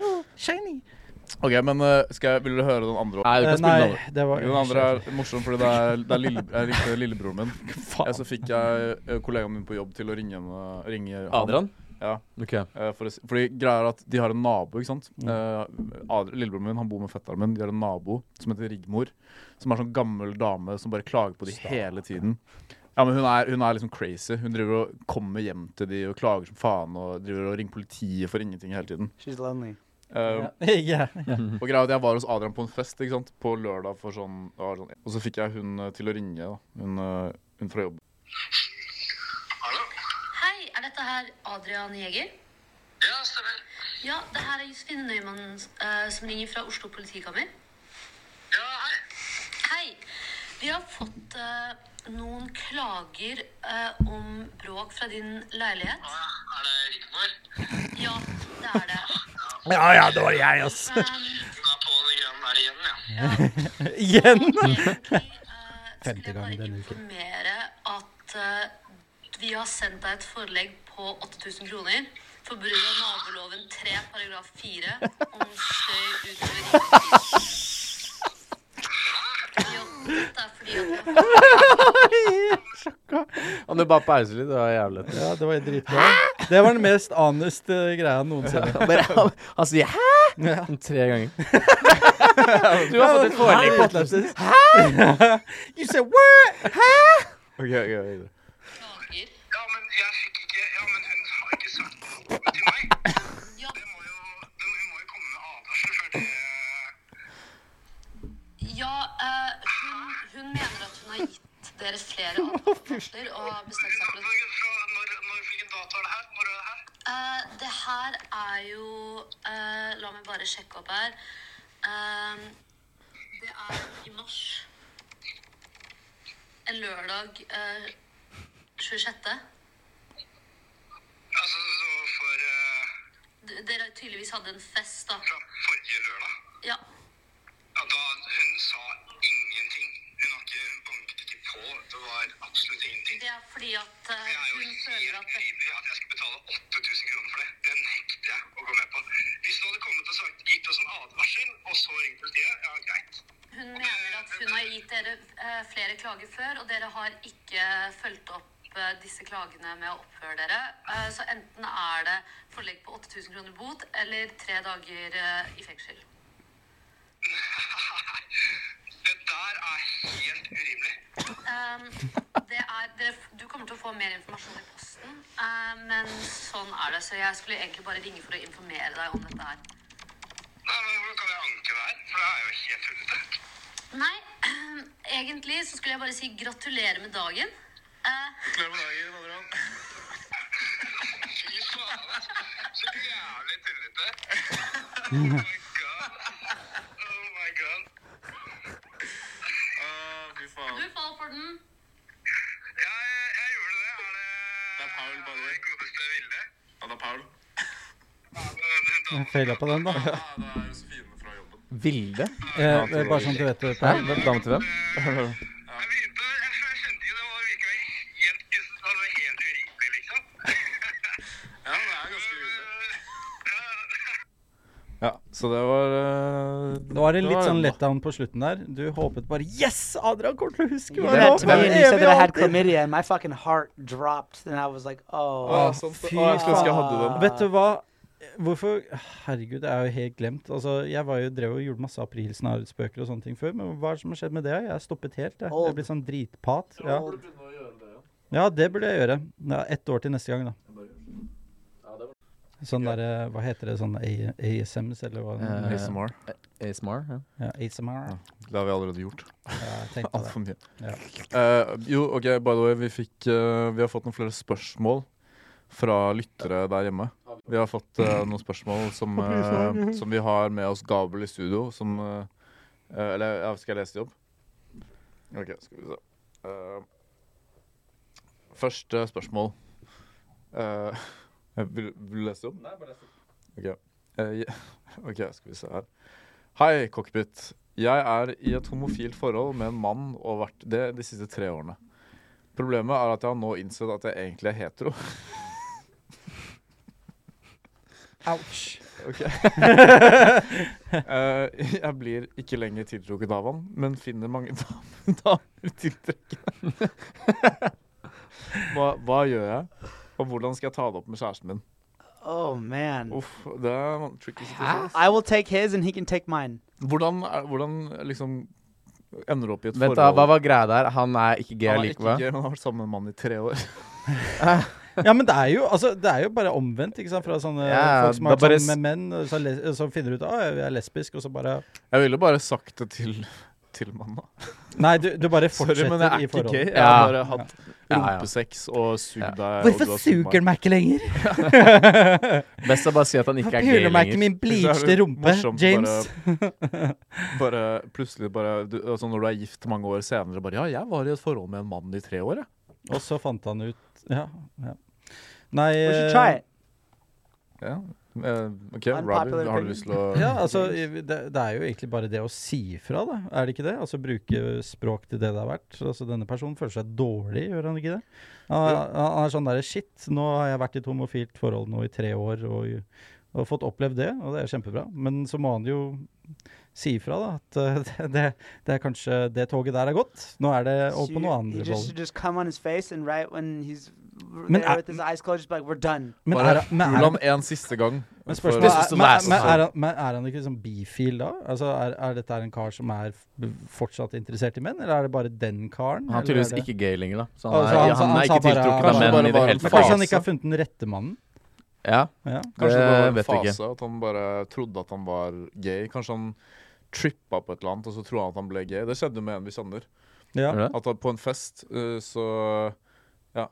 Speaker 7: Ok, men eh, skal jeg, Vil du høre den andre?
Speaker 5: Nei,
Speaker 3: Eh,
Speaker 5: du kan spille
Speaker 3: Nei,
Speaker 5: den over.
Speaker 3: det var
Speaker 7: Den andre er morsom, fordi det er, det er lille, jeg ringte lillebroren min.
Speaker 3: Faen.
Speaker 7: Ja, så fikk jeg eh, kollegaen min på jobb til å ringe, henne- ringe han.
Speaker 5: Adrian?
Speaker 7: Ja.
Speaker 5: Ok.
Speaker 7: Eh, For å, si- fordi greia er at de har en nabo, ikke sant. Eh, Adrian- lillebroren min han bor med fetteren min. De har en nabo som heter Rigmor. Som er sånn gammel dame som bare klager på de hele tiden. Ja, men hun er, hun er liksom crazy. Hun driver og kommer hjem til de og klager som faen. Og driver og ringer politiet for ingenting hele tiden.
Speaker 6: She's lonely.
Speaker 7: Eh,
Speaker 3: Ja.
Speaker 7: og greia er at Jeg var hos Adrian på en fest ikke sant? på lørdag, for sånn, det var sånn og så fikk jeg hun eh, til å ringe. da Hun, eh, hun fra jobb.
Speaker 4: Hallo?
Speaker 12: Hei, er dette her Adrian Jeger?
Speaker 9: Ja, stemmer.
Speaker 12: Ja, det her er Josefine Nøymannen eh, som ringer fra Oslo politikammer.
Speaker 9: Ja, hei.
Speaker 12: Hei, vi har fått eh, noen klager eh, om bråk fra din leilighet.
Speaker 9: Å ja, er det Rigmor?
Speaker 12: Ja, det er det.
Speaker 3: ja, ja, det var jeg, ass.
Speaker 12: Um,
Speaker 9: Hun er på den grønne der igjen, ja.
Speaker 3: Igjen!
Speaker 12: egentlig eh,
Speaker 3: Femte
Speaker 12: skulle jeg
Speaker 3: gang
Speaker 12: bare
Speaker 3: denne uken.
Speaker 12: informere at eh, vi har sendt deg et forelegg på 8000 kroner for brudd av naboloven 3 paragraf 4 om støy utover rikets tid. Ja, dette er fordi at vi har fått
Speaker 5: Han gjør bare pause litt. Det var jævlig lett.
Speaker 3: Ja, det var dritbra. Det var den mest honest eh, greia noensinne.
Speaker 5: Bare, han, han sier 'hæ?' Sånn tre ganger. du har fått et forelegg på atletisk.
Speaker 3: You said what?
Speaker 12: klager.
Speaker 9: Ja, men jeg fikk ikke Ja, men hun har ikke sagt noe til meg.
Speaker 12: Ja,
Speaker 9: Det må jo det må- Hun må jo komme med advarsel før det
Speaker 12: ja eh, hun, hun mener at hun har gitt dere flere advarsler og har bestemt seg for at
Speaker 9: Når, fra- når, når hvilken dato er det her? Når er det her?
Speaker 12: Eh, det her er jo eh, La meg bare sjekke opp her. Eh, det er i mars. En lørdag eh, 26.
Speaker 9: Altså, så for eh,
Speaker 12: D- Dere tydeligvis hadde en fest, da.
Speaker 9: Fra forrige lørdag?
Speaker 12: Ja.
Speaker 9: Ja, da Hun sa ingenting. Hun har ikke Hun banket ikke på. Det var absolutt ingenting.
Speaker 12: Det er fordi at eh,
Speaker 9: Det er jo
Speaker 12: hun føler
Speaker 9: helt
Speaker 12: at det,
Speaker 9: rimelig at jeg skal betale 8000 kroner for det. Den nekter jeg å gå med på. Hvis hun hadde kommet og sagt, gitt oss en advarsel, og så ringt politiet, ja, greit.
Speaker 12: Hun mener at hun har gitt dere eh, flere klager før, og dere har ikke fulgt opp eh, disse klagene med å oppføre dere. Eh, så enten er det forlegg på 8000 kroner bot eller tre dager eh, i fengsel.
Speaker 9: Nei, det der er helt urimelig.
Speaker 12: Ehm, det er, dere, du kommer til å få mer informasjon i posten, eh, men sånn er det. Så jeg skulle egentlig bare ringe for å informere deg om dette her.
Speaker 9: Nei, men Hvordan kan jeg anke det her? For det er jo helt tullete.
Speaker 12: Nei, egentlig så skulle jeg bare si gratulerer med dagen. Eh,
Speaker 9: Glem dagen, Adrian. Fy faen, altså. Så jævlig tullete. Oh my god. Oh my god. Å, fy faen.
Speaker 12: du faller for den.
Speaker 9: Ja, jeg, jeg gjorde det. Er det Det er Paul, bare. Det godeste Vilde. Ja, det er Paul.
Speaker 3: Feila på den, da.
Speaker 4: det er Josefine fra jobben.
Speaker 5: Vilde?
Speaker 3: Eh, bare sånn at du vet det.
Speaker 5: Hæ?
Speaker 3: Per.
Speaker 5: Hvem, dame til hvem?
Speaker 9: Jeg begynte, jeg, jeg skjønte ikke det var virka helt, altså, helt urimelig, liksom.
Speaker 4: Ja, det er ganske urimelig.
Speaker 9: Ja.
Speaker 7: Ja, så det var eh,
Speaker 3: Det var en litt
Speaker 7: var
Speaker 3: sånn
Speaker 7: den, da.
Speaker 3: letdown på slutten der. Du håpet bare Yes! Adrian kommer til å huske hva
Speaker 6: You
Speaker 3: det
Speaker 6: did that to
Speaker 3: var for
Speaker 6: me, and you said
Speaker 3: evig
Speaker 6: that I had
Speaker 3: og alltid.
Speaker 6: chlamydia, and my fucking heart dropped. And I was like, oh.
Speaker 7: Å, sånn,
Speaker 3: fy
Speaker 7: å, jeg skulle ønske jeg hadde den.
Speaker 3: Vet du hva? Hvorfor Herregud, det er jo helt glemt. Altså, jeg var jo, drev og gjorde masse aprilsnarespøker og sånne ting før, men hva er det som har skjedd med det? Jeg er stoppet helt. Jeg, jeg er blitt sånn dritpat. Ja. ja, det burde jeg gjøre. Ja, ett år til neste gang, da. Sånn derre Hva heter det? Sånn A- ASMs, eller hva?
Speaker 5: Eh,
Speaker 7: ASMR.
Speaker 5: ASMR? Ja.
Speaker 3: Ja, ASMR.
Speaker 7: Det har vi allerede gjort.
Speaker 3: Ja, jeg tenkte
Speaker 7: Alt
Speaker 3: det.
Speaker 7: for mye.
Speaker 3: Ja.
Speaker 7: Eh, jo, ok, by the way, vi, fikk, eh, vi har fått noen flere spørsmål fra lyttere der hjemme. Vi har fått eh, noen spørsmål som, eh, som vi har med oss Gabel i studio, som eh, eh, Eller ja, skal jeg lese de opp? OK, skal vi se. Eh, første spørsmål. Eh, vil, vil du lese det opp? Nei, bare les det opp. OK, skal vi se her. Hei, cockpit. Jeg er i et homofilt forhold med en mann og har vært det de siste tre årene. Problemet er at jeg har nå innsett at jeg egentlig er hetero.
Speaker 6: Ouch.
Speaker 7: Ok. Eh, jeg blir ikke lenger tiltrukket av han, men finner mange dam- damer tiltrekkende. hva, hva gjør jeg, og hvordan skal jeg ta det opp med kjæresten min?
Speaker 6: Oh man.
Speaker 7: Uff, det er en tricky situasjon.
Speaker 6: I will take his and he can take mine.
Speaker 7: Hvordan, er- hvordan liksom ender du opp i et
Speaker 5: Vent,
Speaker 7: forhold?
Speaker 5: da, hva var greia der? Han er ikke gay
Speaker 7: han er ikke
Speaker 5: likevel?
Speaker 7: gay, men han har vært sammen med en mann i tre år.
Speaker 3: Ja, men det er jo, altså, det er jo bare omvendt, ikke sant? Fra sånne
Speaker 5: Ja,
Speaker 3: folk som
Speaker 5: da
Speaker 3: er
Speaker 5: bare
Speaker 3: sammen med menn, og så, les som finner ut at jeg er lesbisk, og så bare
Speaker 7: Jeg ville bare sagt det til, til mannen. da.
Speaker 3: Nei, du, du bare
Speaker 7: Sorry,
Speaker 3: fortsetter
Speaker 7: men jeg er
Speaker 3: i
Speaker 7: ikke gay.
Speaker 3: forholdet.
Speaker 7: Jeg har bare
Speaker 3: Ja.
Speaker 7: hatt
Speaker 5: Ja, ja.
Speaker 7: rumpesex og sugd deg. og du
Speaker 3: Hvorfor
Speaker 7: har sugd meg.
Speaker 3: suger den meg ikke lenger?
Speaker 5: Best å bare si at han ikke er gay
Speaker 3: Puler meg ikke
Speaker 5: lenger.
Speaker 3: min bleachede rumpe,
Speaker 7: Morsomt,
Speaker 3: James.
Speaker 7: Bare, bare plutselig bare du, altså Når du er gift mange år senere, bare Ja, jeg var i et forhold med en mann i tre år, jeg.
Speaker 3: Og så fant han ut Ja. ja. Nei
Speaker 6: We should
Speaker 3: eh,
Speaker 6: try it.
Speaker 7: Ja. eh, OK,
Speaker 6: Unpopular
Speaker 7: Robin, har du
Speaker 6: opinion.
Speaker 7: lyst til å
Speaker 3: Ja, altså, i- det, det er jo egentlig bare det å si ifra, da. Er det ikke det? Altså bruke språk til det det er verdt. Altså, denne personen føler seg dårlig, gjør han ikke det? Han, han han er sånn derre Shit, nå har jeg vært i et homofilt forhold nå i tre år og, og fått opplevd det, og det er kjempebra. Men så må han jo si ifra, da. At eh, det, det, det er kanskje Det toget der er gått. Nå er det over på
Speaker 6: you-
Speaker 3: noe
Speaker 6: he
Speaker 3: andre
Speaker 6: just,
Speaker 3: roller.
Speaker 6: should just come on his face and right when he's
Speaker 3: Men
Speaker 6: there
Speaker 3: er-
Speaker 6: with his eyes closed, just be like, we're done.
Speaker 3: Men
Speaker 7: Bare
Speaker 3: er, men er,
Speaker 7: pul ham en siste gang.
Speaker 3: Men
Speaker 7: for-
Speaker 3: spørsmålet
Speaker 5: This is
Speaker 3: er,
Speaker 5: the
Speaker 3: men,
Speaker 5: last
Speaker 3: men,
Speaker 5: one.
Speaker 3: er, han- men er han ikke liksom bifil da? Altså, er, er dette her en kar som er f- fortsatt interessert i menn, eller er det bare den karen?
Speaker 5: Han er
Speaker 3: eller er
Speaker 5: tydeligvis
Speaker 3: det-
Speaker 5: ikke gay lenger, da. Så
Speaker 3: Å, så
Speaker 5: han
Speaker 3: Altså,
Speaker 5: er,
Speaker 3: han
Speaker 5: ja,
Speaker 3: sa-
Speaker 5: han
Speaker 3: han
Speaker 5: er
Speaker 3: sa
Speaker 5: ikke
Speaker 3: bare-
Speaker 5: tiltrukket av
Speaker 7: Kanskje
Speaker 5: menn
Speaker 7: bare
Speaker 5: i det
Speaker 7: var-
Speaker 5: hele
Speaker 3: Men
Speaker 5: tatt.
Speaker 3: Kanskje han ikke har funnet den rette mannen?
Speaker 5: Ja,
Speaker 3: Ja.
Speaker 7: Kanskje det var
Speaker 5: det
Speaker 7: en
Speaker 5: vet jeg ikke.
Speaker 7: fase at han bare trodde at han var gay. Kanskje han trippa på et eller annet, og så tror han at han ble gay. Det skjedde med en vi kjenner.
Speaker 3: Ja.
Speaker 5: Gjør det?
Speaker 7: At han på en fest, eh, så Ja.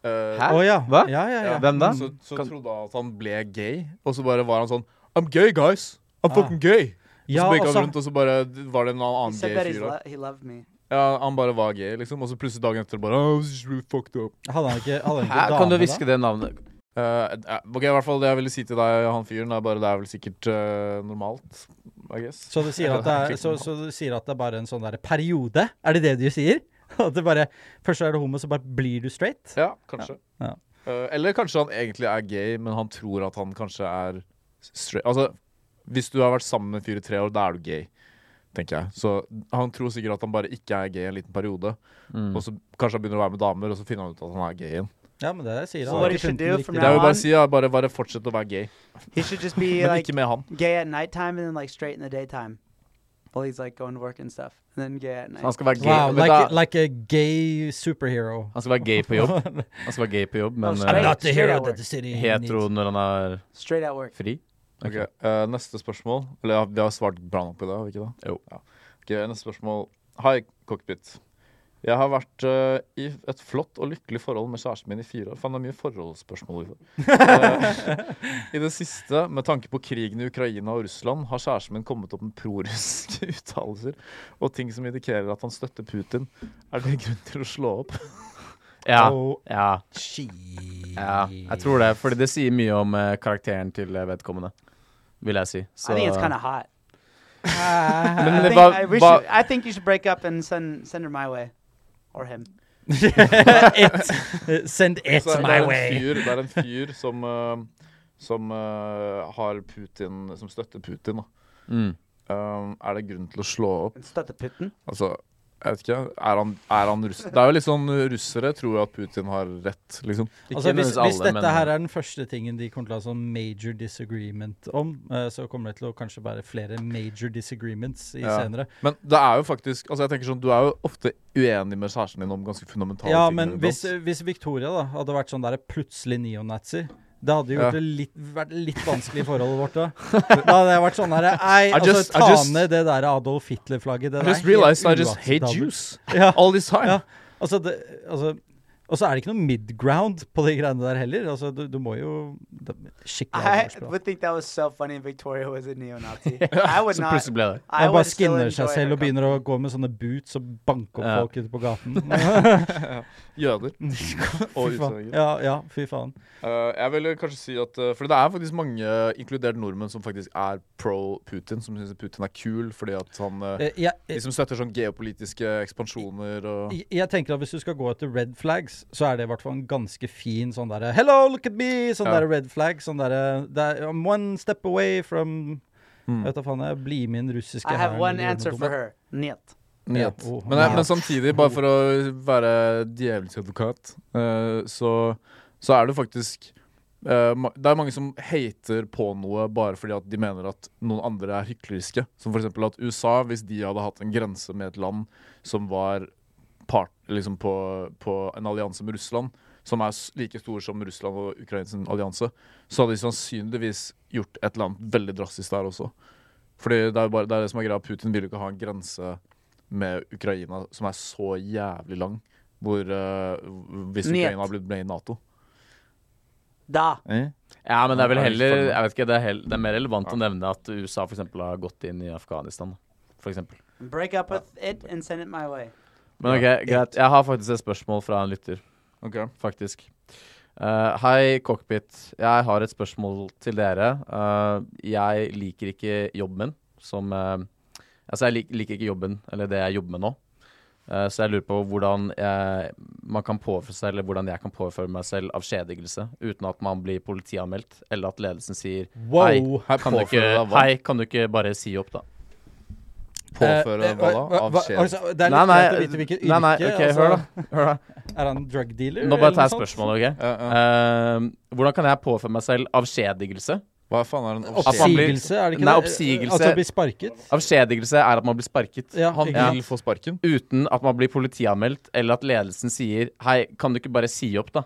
Speaker 7: Eh,
Speaker 10: Hæ?
Speaker 3: Å ja.
Speaker 10: Hva?
Speaker 3: Ja, ja, ja.
Speaker 10: Hvem da?
Speaker 7: Så, så trodde han at han ble gay, og så bare var han sånn I'm gay, guys! I'm fucking gay! Og
Speaker 3: Ja,
Speaker 7: så gikk han
Speaker 3: altså-
Speaker 7: rundt, og så bare var det en annen
Speaker 6: He said
Speaker 7: gay
Speaker 6: that he's
Speaker 7: fyr. da.
Speaker 6: lo- he loved me.
Speaker 7: Ja, han bare var gay, liksom. Og så plutselig dagen etter bare oh, this is really fucked up.
Speaker 3: Hadde han ikke, hadde han ikke
Speaker 5: Hæ,
Speaker 3: dame
Speaker 5: kan du
Speaker 3: da?
Speaker 5: hviske det navnet?
Speaker 7: Eh, eh, ok, i hvert fall Det jeg ville si til deg, han fyren, er bare det er vel sikkert eh, normalt. I guess.
Speaker 3: Så du, sier at det er, så, så du sier at det er bare en sånn der periode? Er det det du sier? At det bare, først er du homo, så bare blir du straight?
Speaker 7: Ja, kanskje.
Speaker 3: Ja.
Speaker 7: Eh, eller kanskje han egentlig er gay, men han tror at han kanskje er straight. Altså, hvis du har vært sammen med en fyr i tre år, da er du gay, tenker jeg. Så han tror sikkert at han bare ikke er gay en liten periode. Og så kanskje han begynner å være med damer, og så finner han ut at han er gay igjen.
Speaker 3: Ja, men det sier
Speaker 6: So
Speaker 3: han.
Speaker 6: what
Speaker 3: Har
Speaker 6: you
Speaker 3: ikke
Speaker 6: should
Speaker 3: funnet den
Speaker 6: do from
Speaker 3: riktige.
Speaker 7: Det jeg vil
Speaker 6: han-
Speaker 7: bare si, er bare, bare fortsett å være gay.
Speaker 6: He should just be
Speaker 7: Men
Speaker 6: like
Speaker 7: ikke med han.
Speaker 6: gay at nighttime and then like straight in the daytime while he's like going to work and stuff. And then gay at night.
Speaker 5: Så han skal være gay
Speaker 3: Wow,
Speaker 5: men
Speaker 3: like,
Speaker 5: da,
Speaker 3: like a gay superhero.
Speaker 5: Han skal være gay på jobb, Han skal være gay på jobb men
Speaker 6: straight.
Speaker 3: I'm
Speaker 5: eh,
Speaker 3: not the hero
Speaker 6: Straight
Speaker 3: that the city
Speaker 5: hetero
Speaker 3: needs.
Speaker 5: når han er
Speaker 6: Straight at work.
Speaker 5: fri.
Speaker 7: Ok, eh, Neste spørsmål. Eller ja, vi har svart bra nok på det, har vi ikke det?
Speaker 5: Jo.
Speaker 7: Ja. Ok, neste spørsmål. Hei, cockpit. Jeg har vært eh, i et flott og lykkelig forhold med kjæresten min i fire år. Faen, det er mye forholdsspørsmål. i det. Eh, I det siste, med tanke på krigen i Ukraina og Russland, har kjæresten min kommet opp med prorussiske uttalelser og ting som indikerer at han støtter Putin. Er det grunn til å slå opp?
Speaker 5: Ja.
Speaker 3: Og-
Speaker 5: ja. ja. Jeg tror det, fordi det sier mye om eh, karakteren til eh, vedkommende, vil jeg si. Så
Speaker 6: I think it's kind of hot. I
Speaker 5: Men det
Speaker 6: think,
Speaker 5: var,
Speaker 6: I, we
Speaker 5: var
Speaker 6: should, I think you should break up and send send her my way, or him.
Speaker 3: it. eh, Send it
Speaker 7: Så det,
Speaker 3: my
Speaker 7: er en
Speaker 3: way.
Speaker 7: fyr, det er en fyr som, eh, som eh, har Putin Som støtter Putin, da.
Speaker 5: mm.
Speaker 7: Um, er det grunn til å slå opp?
Speaker 6: And start the hm? putin.
Speaker 7: Altså, jeg vet ikke. Er han, er han russ... Det er jo litt sånn russere tror jo at Putin har rett, liksom.
Speaker 3: Altså, hvis,
Speaker 5: nødvendigvis alle,
Speaker 3: hvis dette
Speaker 5: men-
Speaker 3: her er den første tingen de kommer til å ha sånn major disagreement om, eh, så kommer det til å kanskje være flere major disagreements i
Speaker 7: Ja.
Speaker 3: senere.
Speaker 7: Men det er jo faktisk Altså, jeg tenker sånn, du er jo ofte uenig med kjæresten din om ganske fundamentale
Speaker 3: Ja,
Speaker 7: ting.
Speaker 3: men
Speaker 7: iblant.
Speaker 3: hvis, hvis Victoria da hadde vært sånn der plutselig neonazi det hadde gjort
Speaker 7: Ja.
Speaker 3: det litt, vært litt vanskelig i forholdet vårt. Da Da hadde jeg vært sånn her Nei,
Speaker 7: I
Speaker 3: altså,
Speaker 7: just- I
Speaker 3: ta
Speaker 7: just-
Speaker 3: ned det der Adolf Hitler-flagget. Det
Speaker 7: I
Speaker 3: der er
Speaker 7: just
Speaker 3: helt
Speaker 7: realized I just hate
Speaker 3: uakseptabelt.
Speaker 7: Jews
Speaker 3: Ja.
Speaker 7: all this time.
Speaker 3: Ja. Altså, det, altså Og så er det ikke noe midground på de greiene der heller. Altså, du, du må jo det er Skikkelig
Speaker 6: I
Speaker 3: alvorsprat.
Speaker 6: would think that was so funny. if Victoria was a neo-Nazi. I would
Speaker 5: Så
Speaker 6: not.
Speaker 5: plutselig ble det
Speaker 6: I
Speaker 3: Han
Speaker 6: would
Speaker 3: bare
Speaker 6: still
Speaker 3: skinner
Speaker 6: enjoy
Speaker 3: seg selv
Speaker 6: her
Speaker 3: og begynner å gå med sånne boots og banke opp
Speaker 5: Ja.
Speaker 3: folk ute på gaten.
Speaker 7: Jøder og
Speaker 3: Fy faen.
Speaker 7: utlendinger.
Speaker 3: Ja, ja, fy faen.
Speaker 7: Eh, jeg vil kanskje si at eh, For det er faktisk mange, inkludert nordmenn, som faktisk er pro Putin. Som syns Putin er kul fordi at han eh,
Speaker 3: Eh, Jeg,
Speaker 7: De
Speaker 3: jeg,
Speaker 7: som støtter sånn geopolitiske ekspansjoner og
Speaker 3: jeg- jeg tenker at hvis du skal gå etter red flags, så er det i hvert fall en ganske fin sånn derre Hello, look at me! Sånn
Speaker 7: Ja.
Speaker 3: derre red flag. Sånn derre det er, I'm one step away from
Speaker 5: Hmm.
Speaker 7: Mm.
Speaker 3: Jeg vet da faen, jeg blir med i den russiske
Speaker 6: I have
Speaker 3: hæren
Speaker 6: one
Speaker 3: eller gjør
Speaker 6: answer
Speaker 3: noe
Speaker 6: for
Speaker 3: dumt.
Speaker 6: her. Niet.
Speaker 7: Nyhet.
Speaker 3: Ja, oh,
Speaker 7: men, jeg-
Speaker 3: ja.
Speaker 7: men samtidig, bare for å være djevelens advokat, eh, så, så er det faktisk eh, ma- Det er mange som hater på noe bare fordi at de mener at noen andre er hykleriske. Som f.eks. at USA, hvis de hadde hatt en grense med et land som var part, liksom på, på en allianse med Russland, som er s- like stor som Russland og Ukrainas allianse, så hadde de sannsynligvis gjort et eller annet veldig drastisk der også. Fordi det er jo bare det, er det som er greia. Putin vil jo ikke ha en grense med Ukraina som er så jævlig lang. Hvor eh, Hvis
Speaker 6: Njet.
Speaker 7: Ukraina har blitt med i Nato.
Speaker 6: Da.
Speaker 5: Ja, men det er vel
Speaker 7: Ja, det er
Speaker 5: heller
Speaker 7: litt
Speaker 5: Jeg vet ikke, det er, hell, det er mer relevant å nevne at USA for eksempel har gått inn i Afghanistan. For eksempel.
Speaker 6: Break up with it and send it my way.
Speaker 5: Men ok, greit. Jeg har faktisk et spørsmål fra en lytter, faktisk. Eh, hei, Cockpit. Jeg har et spørsmål til dere. Eh, jeg liker ikke jobben min som eh, Altså, jeg lik, liker ikke jobben, eller det jeg jobber med nå. Eh, så jeg lurer på hvordan jeg, man kan påføre seg, eller hvordan jeg kan påføre meg selv avskjedigelse uten at man blir politianmeldt, eller at ledelsen sier
Speaker 3: Wow!
Speaker 5: Hei, kan du,
Speaker 7: påfører
Speaker 5: ikke,
Speaker 7: deg hva?
Speaker 5: hei, kan du ikke bare si opp, da?
Speaker 7: Påføre
Speaker 3: Eh, eh,
Speaker 7: hva da?
Speaker 3: hva- hva-
Speaker 7: Avskjed?
Speaker 3: altså, det er litt
Speaker 5: Nei, nei,
Speaker 3: greit å vite hvilket
Speaker 5: nei, nei,
Speaker 3: yrke.
Speaker 5: ok,
Speaker 3: altså,
Speaker 5: Hør da.
Speaker 3: er han drug dealer?
Speaker 5: Nå
Speaker 3: eller noe
Speaker 5: bare tar jeg
Speaker 3: sånt?
Speaker 5: spørsmålet, OK?
Speaker 7: Ja, ja.
Speaker 5: Eh, hvordan kan jeg påføre meg selv avskjedigelse?
Speaker 7: Hva faen er en
Speaker 5: At man
Speaker 7: avskjed?
Speaker 5: blir-
Speaker 3: Oppsigelse, er det ikke
Speaker 5: Nei,
Speaker 3: det?
Speaker 5: oppsigelse-
Speaker 3: At han blir sparket?
Speaker 5: Avskjedigelse er at man blir sparket.
Speaker 3: Ja,
Speaker 7: Han
Speaker 3: ikke sant?
Speaker 7: vil få sparken.
Speaker 5: Uten at man blir politianmeldt, eller at ledelsen sier 'hei, kan du ikke bare si opp', da?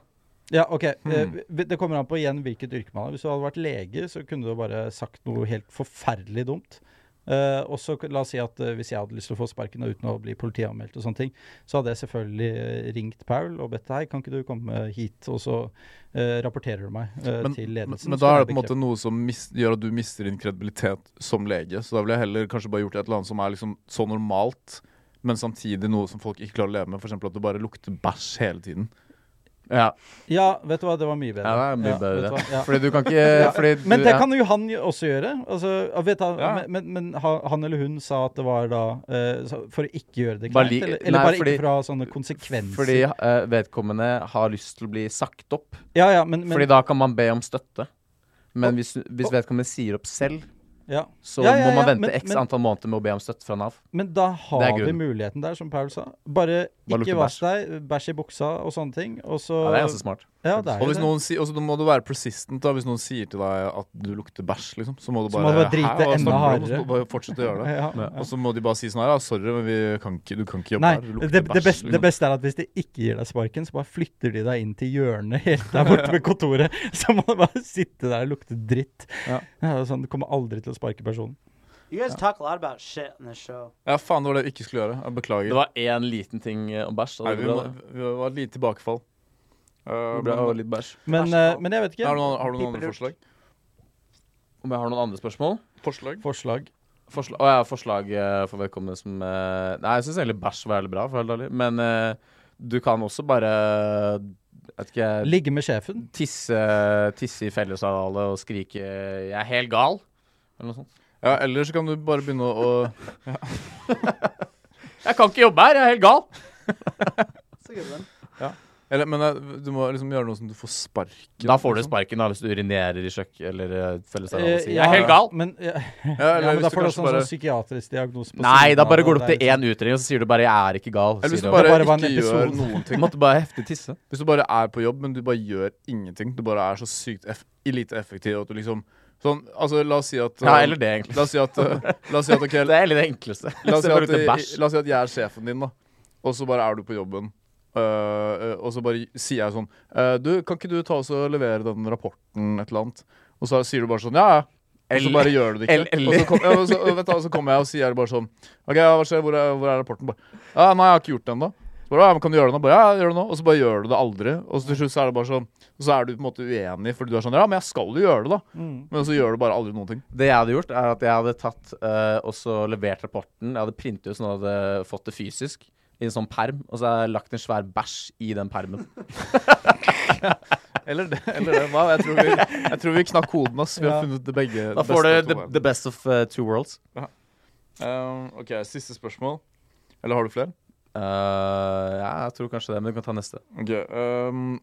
Speaker 3: Ja, ok. Eh,
Speaker 7: Hmm.
Speaker 3: vi- Det kommer an på igjen hvilket yrke man har. Hvis du hadde vært lege, så kunne du bare sagt noe helt forferdelig dumt. Eh, og så la oss si at eh, hvis jeg hadde lyst til å få sparken og uten å bli politianmeldt og sånne ting, så hadde jeg selvfølgelig eh, ringt Paul og bedt hei, kan ikke du komme hit, og så eh, rapporterer du meg eh,
Speaker 7: Men,
Speaker 3: til
Speaker 7: men,
Speaker 3: ledelsen.
Speaker 7: men
Speaker 3: så
Speaker 7: da
Speaker 3: kan
Speaker 7: er
Speaker 3: jeg
Speaker 7: det på en måte
Speaker 3: bekrefte-
Speaker 7: noe som mis, gjør at du mister din kredibilitet som lege. Så da ville jeg heller kanskje bare gjort et eller annet som er liksom så normalt, men samtidig noe som folk ikke klarer å leve med. F.eks. at du bare lukter bæsj hele tiden.
Speaker 5: Ja,
Speaker 3: Ja, vet du hva, det var mye bedre.
Speaker 5: Ja, det er mye bedre.
Speaker 3: vet du hva, ja.
Speaker 5: Fordi du kan ikke fordi du,
Speaker 3: Men det
Speaker 5: ja.
Speaker 3: kan jo han jo også gjøre. Altså, ja, vet han,
Speaker 7: Ja.
Speaker 3: Men, men, men ha- han eller hun sa at det var da eh, så- for å ikke gjøre det
Speaker 5: Bare
Speaker 3: kleint?
Speaker 5: li-
Speaker 3: Eller,
Speaker 5: nei,
Speaker 3: eller bare
Speaker 5: fordi-
Speaker 3: ikke fra sånne konsekvenser?
Speaker 5: Fordi eh, vedkommende har lyst til å bli sagt opp.
Speaker 3: ja, ja, men, men,
Speaker 5: fordi da kan man be om støtte. Men
Speaker 3: Og-
Speaker 5: hvis, hvis vedkommende sier opp selv,
Speaker 3: ja.
Speaker 5: så
Speaker 3: Ja, ja,
Speaker 5: må man
Speaker 3: ja,
Speaker 5: vente
Speaker 3: men-
Speaker 5: x
Speaker 3: men-
Speaker 5: antall måneder med å be om støtte fra Nav.
Speaker 3: men da
Speaker 5: Det er
Speaker 3: har vi
Speaker 5: grunnen.
Speaker 3: muligheten der, som Paul sa. Bare,
Speaker 5: Bare lukte
Speaker 3: ikke vask deg, bæsj i buksa og sånne ting. Og så
Speaker 5: Ja, det er ganske smart.
Speaker 3: Ja, det er
Speaker 7: Og
Speaker 3: jo
Speaker 7: hvis
Speaker 3: det.
Speaker 7: noen sier, og så må du være persistent da Hvis noen sier til deg at du lukter bæsj, liksom, så må du bare
Speaker 3: Så må du bare drite
Speaker 7: "Hæ, hva
Speaker 3: enda
Speaker 7: snakker du om?"
Speaker 3: hardere.
Speaker 7: Og så må du bare fortsette å gjøre det.
Speaker 3: Ja.
Speaker 7: Og så må de bare si sånn her ja, 'Sorry, men vi kan ikke, du kan ikke jobbe
Speaker 3: Nei,
Speaker 7: her. Du
Speaker 3: det,
Speaker 7: lukter
Speaker 3: det,
Speaker 7: bæsj,
Speaker 3: beste, det
Speaker 7: liksom."
Speaker 3: beste er at hvis de ikke gir deg sparken, så bare flytter de deg inn til hjørnet helt der borte ved kontoret. Så må du bare sitte der og lukte dritt.
Speaker 7: Ja.
Speaker 3: Ja, det er sånn, du kommer aldri til å sparke personen.
Speaker 6: You guys talk a lot about shit on this show.
Speaker 7: Ja, faen, det var det vi ikke skulle gjøre. Jeg beklager.
Speaker 5: Det var én liten ting eh, om bæsj. og
Speaker 7: Nei,
Speaker 5: det
Speaker 7: vi,
Speaker 5: var
Speaker 7: må,
Speaker 5: bra, det.
Speaker 7: vi var et lite tilbakefall. Eh,
Speaker 5: Det ble- det var
Speaker 7: men-
Speaker 5: litt bæsj.
Speaker 3: Men, eh, men jeg vet ikke.
Speaker 7: har, du noen, har du noen andre
Speaker 6: Piper ut.
Speaker 7: forslag?
Speaker 5: Om jeg har noen andre spørsmål?
Speaker 7: Forslag?
Speaker 3: Forslag.
Speaker 5: Forslag, å, ja, forslag eh, for vedkommende som eh, Nei, jeg syns egentlig bæsj var veldig bra, for å være helt ærlig. Men eh, du kan også bare jeg vet ikke
Speaker 3: Eh, Ligge med sjefen.
Speaker 5: tisse, tisse i fellesarealet og skrike 'jeg er helt gal', eller noe sånt.
Speaker 7: Ja, Eller så kan du bare begynne å å-
Speaker 5: 'Jeg kan ikke jobbe her, jeg er helt gal'.
Speaker 6: That's a good one.
Speaker 7: eller, Men eh, du må liksom gjøre noe som du får sparken.
Speaker 5: Da får du
Speaker 7: liksom.
Speaker 5: sparken da, hvis du urinerer i kjøkk eller eh, fellesarealet
Speaker 3: Eh,
Speaker 5: og sier
Speaker 3: ja,
Speaker 5: 'jeg er helt gal'.
Speaker 3: Men, ja,
Speaker 7: Ja,
Speaker 3: ja,
Speaker 7: eller
Speaker 3: men da
Speaker 7: hvis du
Speaker 3: får du
Speaker 7: kanskje
Speaker 3: sånn,
Speaker 7: bare
Speaker 3: sånn psykiatrisk diagnose. på
Speaker 5: Nei,
Speaker 3: siden
Speaker 5: da
Speaker 3: av
Speaker 5: bare
Speaker 3: det, liksom.
Speaker 5: går du
Speaker 3: og
Speaker 5: opp til
Speaker 3: det er
Speaker 5: én utredning, og så sier du bare 'jeg er ikke gal'.
Speaker 7: Eller hvis
Speaker 5: Sier
Speaker 7: du
Speaker 5: du.
Speaker 7: bare,
Speaker 3: bare var en
Speaker 7: ikke gjør
Speaker 3: episode.
Speaker 7: noen
Speaker 5: Du
Speaker 7: ting.
Speaker 5: måtte bare heftig tisse.
Speaker 7: Hvis du bare er på jobb, men du bare gjør ingenting. Du bare er så sykt eff lite effektiv at du liksom Sånn, altså, la oss si at
Speaker 5: Ja,
Speaker 7: eh,
Speaker 5: eller det, egentlig.
Speaker 7: La oss si at eh, La oss si at, ok,
Speaker 5: Det er egentlig det enkleste.
Speaker 7: La oss, si at,
Speaker 5: Istedenfor å lukte bæsj.
Speaker 7: la oss si at jeg er sjefen din, da. Og så bare er du på jobben. Øh, øh, og så bare sier jeg sånn øh, Du, kan ikke du ta oss og levere den rapporten, et eller annet? Og så sier du bare sånn Ja, ja. Og så
Speaker 5: Eller-
Speaker 7: bare gjør du det ikke.
Speaker 5: eller-
Speaker 7: Og så, kom, ja, og så, og vet du, og så kommer jeg og sier bare sånn OK, ja, hva skjer? Hvor er, hvor er rapporten? Bare, ja, nei, jeg har ikke gjort den ennå. Så Bare, ja, men kan du gjøre det nå? Bare, ja, gjør det nå. Og så bare gjør du det aldri. Og så til slutt så er det bare sånn Og så er du på en måte uenig, fordi du er sånn Ja, men jeg skal jo gjøre det, da.
Speaker 5: Mm.
Speaker 7: Men så gjør du bare aldri noen ting.
Speaker 5: Det jeg hadde gjort, er at jeg hadde tatt eh, og så levert rapporten. Jeg hadde printet ut sånn at jeg hadde fått det fysisk i en sånn perm, og så hadde jeg lagt en svær bæsj i den permen.
Speaker 7: Eller det. Eller det. Hva? Jeg tror vi, jeg tror vi knakk koden, ass. Vi
Speaker 5: Ja.
Speaker 7: har funnet det begge.
Speaker 5: Da
Speaker 7: det
Speaker 5: får
Speaker 7: beste av to
Speaker 5: du the,
Speaker 7: verdener.
Speaker 5: the best of eh, two worlds.
Speaker 7: Um, OK, siste spørsmål. Eller har du flere?
Speaker 5: Eh, ja, jeg tror kanskje det, men du kan ta neste.
Speaker 7: Ok, ehm,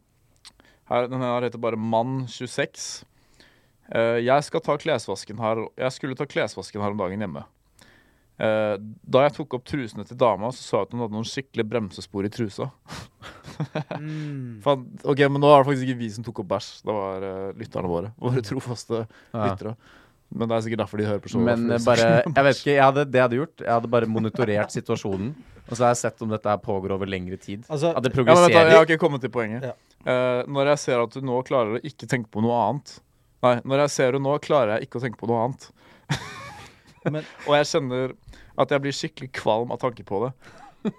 Speaker 7: her, denne her heter bare Mann26. Eh, jeg skal ta klesvasken her Jeg skulle ta klesvasken her om dagen hjemme. Eh, da jeg tok opp trusene til dama, så så jeg at hun hadde noen skikkelig bremsespor i trusa.
Speaker 5: Mm.
Speaker 7: Faen, ok, Men nå er det faktisk ikke vi som tok opp bæsj. Det var eh, lytterne våre. Våre trofaste
Speaker 5: Mm. Ja.
Speaker 7: lyttere. Men det er sikkert derfor de hører på showet. fordi
Speaker 5: Men eh,
Speaker 7: de
Speaker 5: bare
Speaker 7: snakker om
Speaker 5: Jeg vet ikke. Jeg hadde, det jeg hadde gjort, jeg hadde bare monitorert situasjonen. Og så har jeg sett om dette her pågår over lengre tid.
Speaker 3: Altså-
Speaker 5: at det
Speaker 7: Ja, men
Speaker 5: progresserer.
Speaker 7: vent da, jeg har ikke kommet til poenget.
Speaker 3: Ja.
Speaker 7: Eh, når jeg ser at du nå klarer å ikke tenke på noe annet Nei, når jeg ser det nå, klarer jeg ikke å tenke på noe annet.
Speaker 3: Men-
Speaker 7: Og jeg kjenner at jeg blir skikkelig kvalm av tanke på det.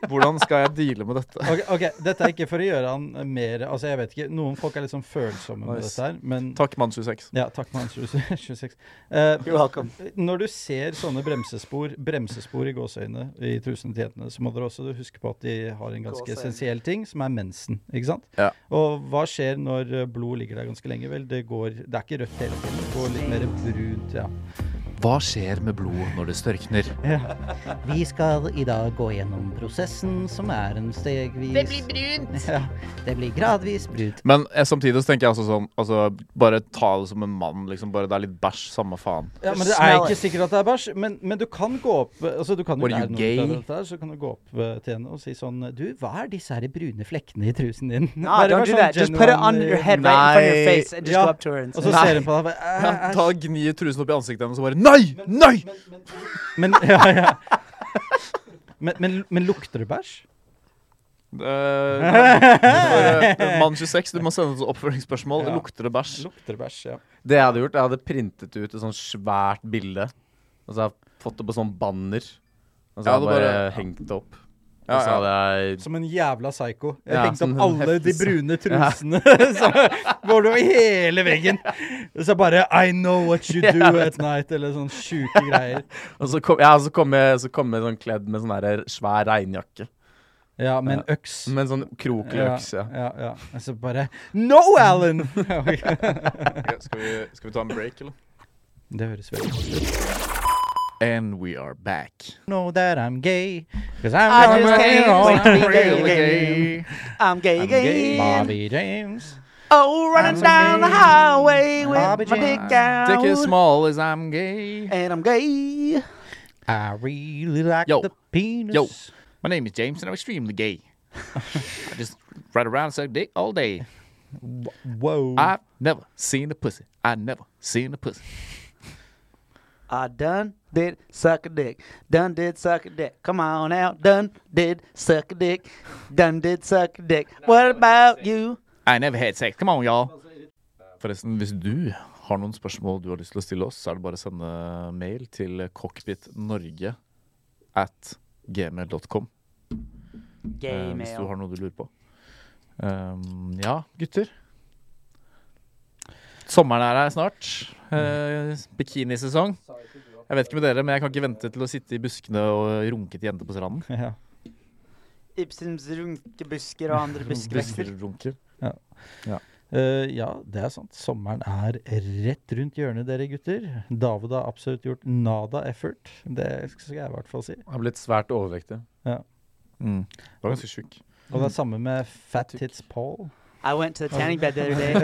Speaker 7: Hvordan skal jeg deale med dette?
Speaker 3: Ok, ok, Dette er ikke for å gjøre han mer Altså, jeg vet ikke. Noen folk er litt sånn følsomme med
Speaker 7: Nice.
Speaker 3: dette her, men
Speaker 7: Takk, mann 26.
Speaker 3: Ja, takk, mann 26. Eh,
Speaker 6: You're welcome.
Speaker 3: når du ser sånne bremsespor, bremsespor i gåseøynene i trusene til jentene, så må dere også huske på at de har en ganske
Speaker 6: Gåseøyne.
Speaker 3: essensiell ting, som er mensen. ikke sant?
Speaker 7: Ja.
Speaker 3: Og hva skjer når eh, blod ligger der ganske lenge? Vel, det går Det er ikke rødt hele tiden. Det går litt mer brunt, ja.
Speaker 7: Hva skjer med blod når det størkner?
Speaker 13: Vi skal i dag gå gjennom prosessen, som er en stegvis
Speaker 12: Det blir brunt.
Speaker 13: Ja, det blir gradvis brunt.
Speaker 7: Men eh, samtidig så tenker jeg altså sånn altså, Bare ta det som en mann. liksom Bare Det er litt bæsj, samme faen.
Speaker 3: Ja, men Det er ikke sikkert at det er bæsj, men, men du kan gå opp altså du kan jo
Speaker 7: Were you
Speaker 3: lære noe
Speaker 7: gay?
Speaker 3: ut av dette her, Så kan du gå opp eh, til henne og si sånn Du, hva er disse her brune flekkene i trusen din?
Speaker 6: Nah,
Speaker 3: Bare vær
Speaker 6: don't do
Speaker 3: sånn
Speaker 6: that. Just put it
Speaker 3: genuine,
Speaker 6: under your
Speaker 3: eh,
Speaker 6: head right in front of your
Speaker 5: Nei.
Speaker 6: face and just
Speaker 3: Ja.
Speaker 6: go up to her and
Speaker 3: Og
Speaker 6: say,
Speaker 3: så ser hun på deg og bare "Ah."
Speaker 7: Ja,
Speaker 3: "Æ, æsj."
Speaker 7: ta Gni trusen opp i ansiktet hennes og bare Nei! Nei!
Speaker 3: Men, ja, ja. Men, men, men lukter det bæsj?
Speaker 7: Eh, mann 26, du må sende oss oppfølgingsspørsmål.
Speaker 3: Ja.
Speaker 7: Lukter det bæsj?
Speaker 3: Lukter det bæsj, ja.
Speaker 5: Det jeg hadde gjort, jeg hadde printet ut et sånn svært bilde. Og så har jeg fått det på sånn banner. Og så
Speaker 7: Ja,
Speaker 5: har jeg
Speaker 7: det
Speaker 5: bare
Speaker 7: bare-
Speaker 5: hengt det opp.
Speaker 7: Ja,
Speaker 5: Og så
Speaker 7: ja.
Speaker 5: hadde jeg
Speaker 3: Som en jævla psyko. Jeg
Speaker 5: Ja,
Speaker 3: hengte
Speaker 5: som en
Speaker 3: opp alle de
Speaker 5: heftig psy-
Speaker 3: brune trusene. så går du over hele veggen. Og så bare I know what you do at night, eller sånne sjuke greier.
Speaker 5: Og så kom, ja, så kom jeg, så kom jeg sånn kledd med sånn der svær regnjakke.
Speaker 3: Ja, med en øks.
Speaker 5: Med en sånn krokelig øks, ja.
Speaker 3: ja, ja. Og så bare No, Alan!
Speaker 7: Ok, skal, vi, skal vi ta en break, eller?
Speaker 3: det høres veldig godt ut.
Speaker 7: And we are back.
Speaker 3: Know that I'm gay. 'cause
Speaker 6: I
Speaker 3: I'm,
Speaker 6: just can't wait to be gay
Speaker 3: really
Speaker 6: again. I'm gay again.
Speaker 3: Bobby James.
Speaker 6: Oh, running
Speaker 3: I'm
Speaker 6: down
Speaker 3: gay.
Speaker 6: the highway with
Speaker 3: Bobby
Speaker 6: my
Speaker 3: James.
Speaker 6: dick out.
Speaker 7: Dick is small as I'm gay.
Speaker 6: and I'm gay.
Speaker 13: I really like
Speaker 11: Yo.
Speaker 13: the penis.
Speaker 11: Yo. My name is James, and I'm extremely gay. I just ride around and suck dick all day.
Speaker 3: Wow.
Speaker 11: I've never seen a pussy. I never seen a pussy.
Speaker 6: I done did suck a dick. Done did suck a dick. Come on out. Done did suck a dick. Done did suck a dick. What about you?
Speaker 11: I never had sex. Come on, y'all.
Speaker 7: Forresten, hvis du har noen spørsmål du har lyst til å stille oss, så er det bare å sende mail til cockpitnorge at gmail.com eh,
Speaker 6: Gay
Speaker 7: hvis du
Speaker 6: male.
Speaker 7: har noe du lurer på. Um, ja, gutter. Sommeren er her snart. Eh, bikinisesong. Jeg vet ikke med dere, men jeg kan ikke vente til å sitte i buskene og runke til jenter på stranden.
Speaker 3: Ja.
Speaker 6: Ibsens runkebusker og andre buskevekster.
Speaker 7: Buskerunker.
Speaker 3: Eh, ja, det er sant. Sommeren er rett rundt hjørnet, dere gutter. David har absolutt gjort nada effort. Det skal jeg i hvert fall si.
Speaker 5: Jeg har blitt svært overvektig.
Speaker 7: Mm. Det var ganske sjuk.
Speaker 3: Og det er samme med Fat Tits Paul.
Speaker 6: I went to the tanning bed the other day.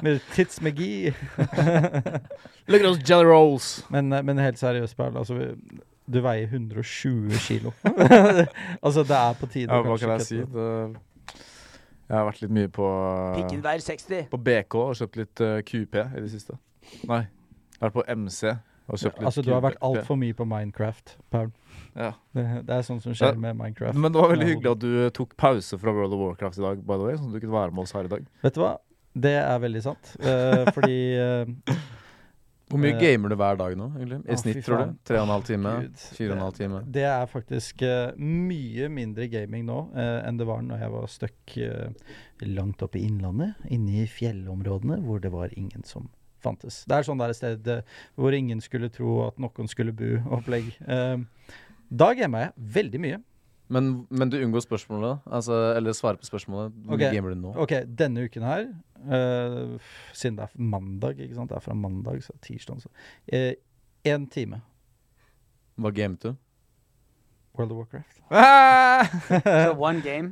Speaker 3: med Tits McGee.
Speaker 11: Look at those jelly rolls.
Speaker 3: Men, eh, men helt seriøst, Perl, altså, vi- du veier 120 kilo. altså, det er på tide.
Speaker 7: Ja,
Speaker 3: å
Speaker 7: hva kan
Speaker 3: kanskje
Speaker 7: jeg
Speaker 3: kutte
Speaker 7: si?
Speaker 3: det.
Speaker 7: Det, jeg har vært litt mye på,
Speaker 6: Pikken veier 60.
Speaker 7: på BK og kjøpt litt eh, QP i det siste. Nei, jeg har vært på MC og kjøpt litt
Speaker 3: Altså, du har vært
Speaker 7: QP.
Speaker 3: altfor mye på Minecraft, Paul.
Speaker 7: Ja.
Speaker 3: Det, det er sånt som skjer med Minecraft.
Speaker 7: Men det var veldig
Speaker 3: Ja,
Speaker 7: hyggelig at du eh, tok pause fra World of Warcraft i dag, by the way, sånn at du kunne være med oss her i dag.
Speaker 3: Vet du hva? Det er veldig sant. Eh, fordi eh,
Speaker 5: Hvor mye
Speaker 3: Eh,
Speaker 5: gamer du hver dag nå, egentlig?
Speaker 3: Å,
Speaker 5: I
Speaker 3: fy
Speaker 5: snitt, tror du?
Speaker 3: faen.
Speaker 5: Tre og en halv time?
Speaker 3: Gud.
Speaker 5: Fire og en halv time?
Speaker 3: Det er faktisk eh, mye mindre gaming nå eh, enn det var når jeg var stuck eh, langt oppe i innlandet, inne i fjellområdene hvor det var ingen som fantes. Det er sånn der et sted eh, hvor ingen skulle tro at noen skulle bo, opplegg. Eh, da gamer jeg veldig mye.
Speaker 5: Men, men du unngår spørsmålet, altså, eller svarer på spørsmålet. Hvor mye
Speaker 3: Ok,
Speaker 5: gamer du nå?
Speaker 3: Ok, denne uken her, eh, siden det er mandag, ikke sant? Det er fra mandag, så tirsdag, så. eh, en time.
Speaker 5: Hva gamet du?
Speaker 3: World of Warcraft.
Speaker 6: So one game?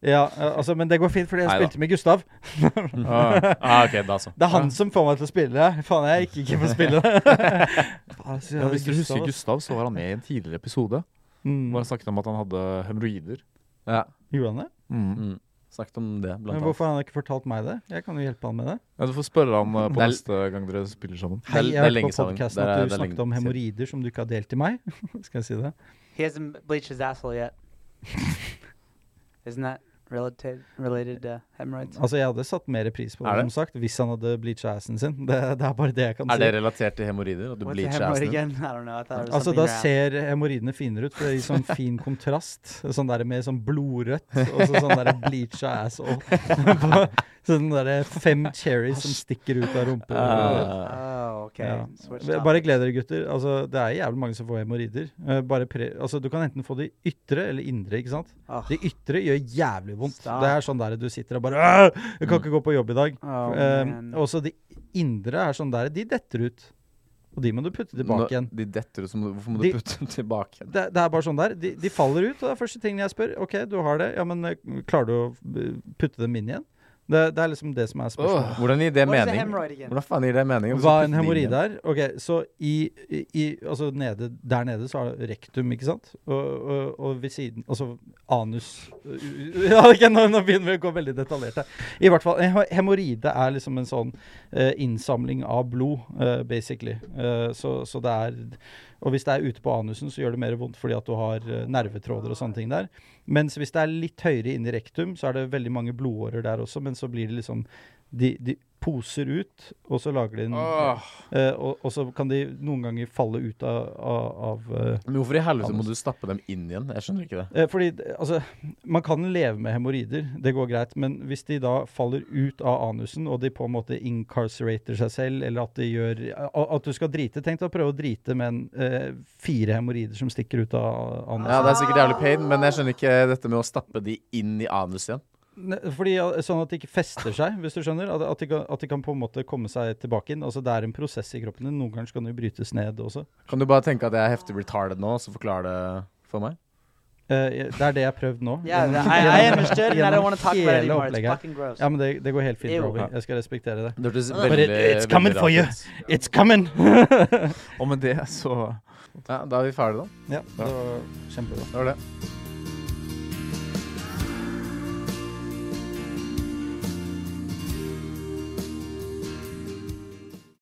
Speaker 3: Ja, eh, altså, men det går fint, fordi jeg
Speaker 5: Neida.
Speaker 3: spilte med Gustav.
Speaker 5: Ah, ah, ok, da så.
Speaker 3: Det er han
Speaker 5: Ja.
Speaker 3: som får meg til å spille. Faen, jeg gikk ikke for å spille. Faen, så
Speaker 7: Ja, hvis du
Speaker 3: Gustav,
Speaker 7: husker
Speaker 3: ass.
Speaker 7: Gustav, så var han med i en tidligere episode.
Speaker 3: Mm.
Speaker 7: Hvor han snakket om at han hadde hemoroider.
Speaker 5: Ja.
Speaker 3: Gjorde han det?
Speaker 5: Mm. Snakket om det, blant
Speaker 3: Men
Speaker 5: annet.
Speaker 3: hvorfor har han ikke fortalt meg det? Jeg kan jo hjelpe han med det.
Speaker 7: Ja, du får spørre han eh, på
Speaker 5: Det er-
Speaker 7: neste gang dere spiller sammen.
Speaker 3: Hei,
Speaker 5: det
Speaker 3: jeg
Speaker 5: er
Speaker 3: hørte
Speaker 5: lenge
Speaker 3: på
Speaker 5: siden.
Speaker 3: podkasten
Speaker 5: Det er-
Speaker 3: at du
Speaker 5: det er lenge
Speaker 3: snakket om
Speaker 5: siden.
Speaker 3: hemoroider som du ikke har delt til meg. Skal jeg si det?
Speaker 6: He hasn't bleached his asshole yet. Isn't that related related to hemorrhoids?
Speaker 3: Altså, jeg hadde satt mer pris på det,
Speaker 5: Er det?
Speaker 3: som sagt, hvis han hadde bleacha assen sin. Det, det er bare det jeg kan
Speaker 5: Er det
Speaker 3: si.
Speaker 5: relatert til hemoroider? At du
Speaker 6: What's a
Speaker 5: blir
Speaker 6: hemorrhoid
Speaker 5: kjæresten din?
Speaker 6: again? I don't know. I thought it was
Speaker 3: Altså,
Speaker 6: something
Speaker 3: da
Speaker 6: around-
Speaker 3: ser hemoroidene finere ut, for det gir sånn fin kontrast. Sånn der med sånn blodrødt, og så sånn der bleacha asshole. sånn der fem cherries som stikker ut av rumpa.
Speaker 5: Ah.
Speaker 6: Oh, okay.
Speaker 3: Ja.
Speaker 6: Switch
Speaker 3: Bare
Speaker 6: topics.
Speaker 3: gled dere, gutter. Altså, det er jævlig mange som får hemoroider. Eh, bare pre- Altså, du kan enten få de ytre eller indre. ikke sant?
Speaker 6: Ah.
Speaker 3: De ytre gjør jævlig vondt.
Speaker 6: Stop.
Speaker 3: Det er sånn der du sitter og bare «Åh, 'Jeg kan ikke gå på jobb i dag'.
Speaker 6: Oh,
Speaker 3: Eh,
Speaker 6: man.
Speaker 3: også de indre er sånn der De detter ut. Og de må du putte tilbake
Speaker 5: Nå-
Speaker 3: igjen.
Speaker 5: De detter ut, så må- hvorfor må
Speaker 3: De-
Speaker 5: du putte dem tilbake igjen?
Speaker 3: Det, det er bare sånn der. De, de faller ut, og det er første tingen jeg spør. OK, du har det. Ja, men eh, klarer du å eh, putte dem inn igjen? Det, det er liksom det som er spørsmålet.
Speaker 5: Hvordan gir det
Speaker 6: What is a
Speaker 5: mening?
Speaker 6: hemorrhoid again?
Speaker 5: Hvordan faen gir det mening?
Speaker 3: Hva en hemoroide er? Ok, så i, i, i Altså nede, der nede så er det rektum, ikke sant? Og, og, og ved siden Altså anus ja, ok, nå, nå begynner vi å gå veldig detaljert her. I hvert fall, en he- hemoroide er liksom en sånn eh, innsamling av blod, eh, basically. Eh, så, så det er Og hvis det er ute på anusen, så gjør det mer vondt fordi at du har eh, nervetråder og sånne ting der. Mens hvis det er litt høyere inn i rektum, så er det veldig mange blodårer der også, men så blir det liksom de, de poser ut, og så lager de en
Speaker 5: Ah.
Speaker 3: eh, og, og så kan de noen ganger falle ut av, av, av eh,
Speaker 5: Men hvorfor i helvete må du stappe dem inn igjen? Jeg skjønner ikke det.
Speaker 3: Eh, Fordi, eh, altså, Man kan leve med hemoroider, det går greit. Men hvis de da faller ut av anusen, og de på en måte incarcerater seg selv, eller at de gjør a- At du skal drite. Tenk deg å prøve å drite med en, eh, fire hemoroider som stikker ut av anusen.
Speaker 5: Ja, Det er sikkert jævlig pain, men jeg skjønner ikke dette med å stappe de inn i anus igjen.
Speaker 3: Ne- Fordi ja, Sånn at de ikke fester seg, hvis du skjønner. At, at, de kan, at de kan på en måte komme seg tilbake inn. Altså Det er en prosess i kroppen din. Noen ganger så kan de brytes ned også.
Speaker 5: Kan du bare tenke at jeg er heftig retarded nå, og så forklare det for meg?
Speaker 3: Eh, jeg- det er det jeg har prøvd nå.
Speaker 6: Yeah,
Speaker 3: gjennom-
Speaker 6: that- I, I
Speaker 3: gjennom-
Speaker 6: understood, and I don't
Speaker 3: gjennom
Speaker 6: want to talk about it
Speaker 3: hele
Speaker 6: anymore. It's
Speaker 3: opplegget her.
Speaker 6: fucking gross.
Speaker 3: Ja, men det, det går helt fint,
Speaker 6: Ew.
Speaker 3: Robbie. Jeg skal respektere det.
Speaker 5: Det hørtes
Speaker 3: But
Speaker 5: veldig,
Speaker 3: it, it's coming
Speaker 5: veldig
Speaker 3: for you!
Speaker 5: rart ut.
Speaker 3: It's coming!
Speaker 7: Og med det så
Speaker 5: Ja, da er vi ferdige,
Speaker 3: ja,
Speaker 5: da.
Speaker 3: det var kjempebra.
Speaker 5: Det var det.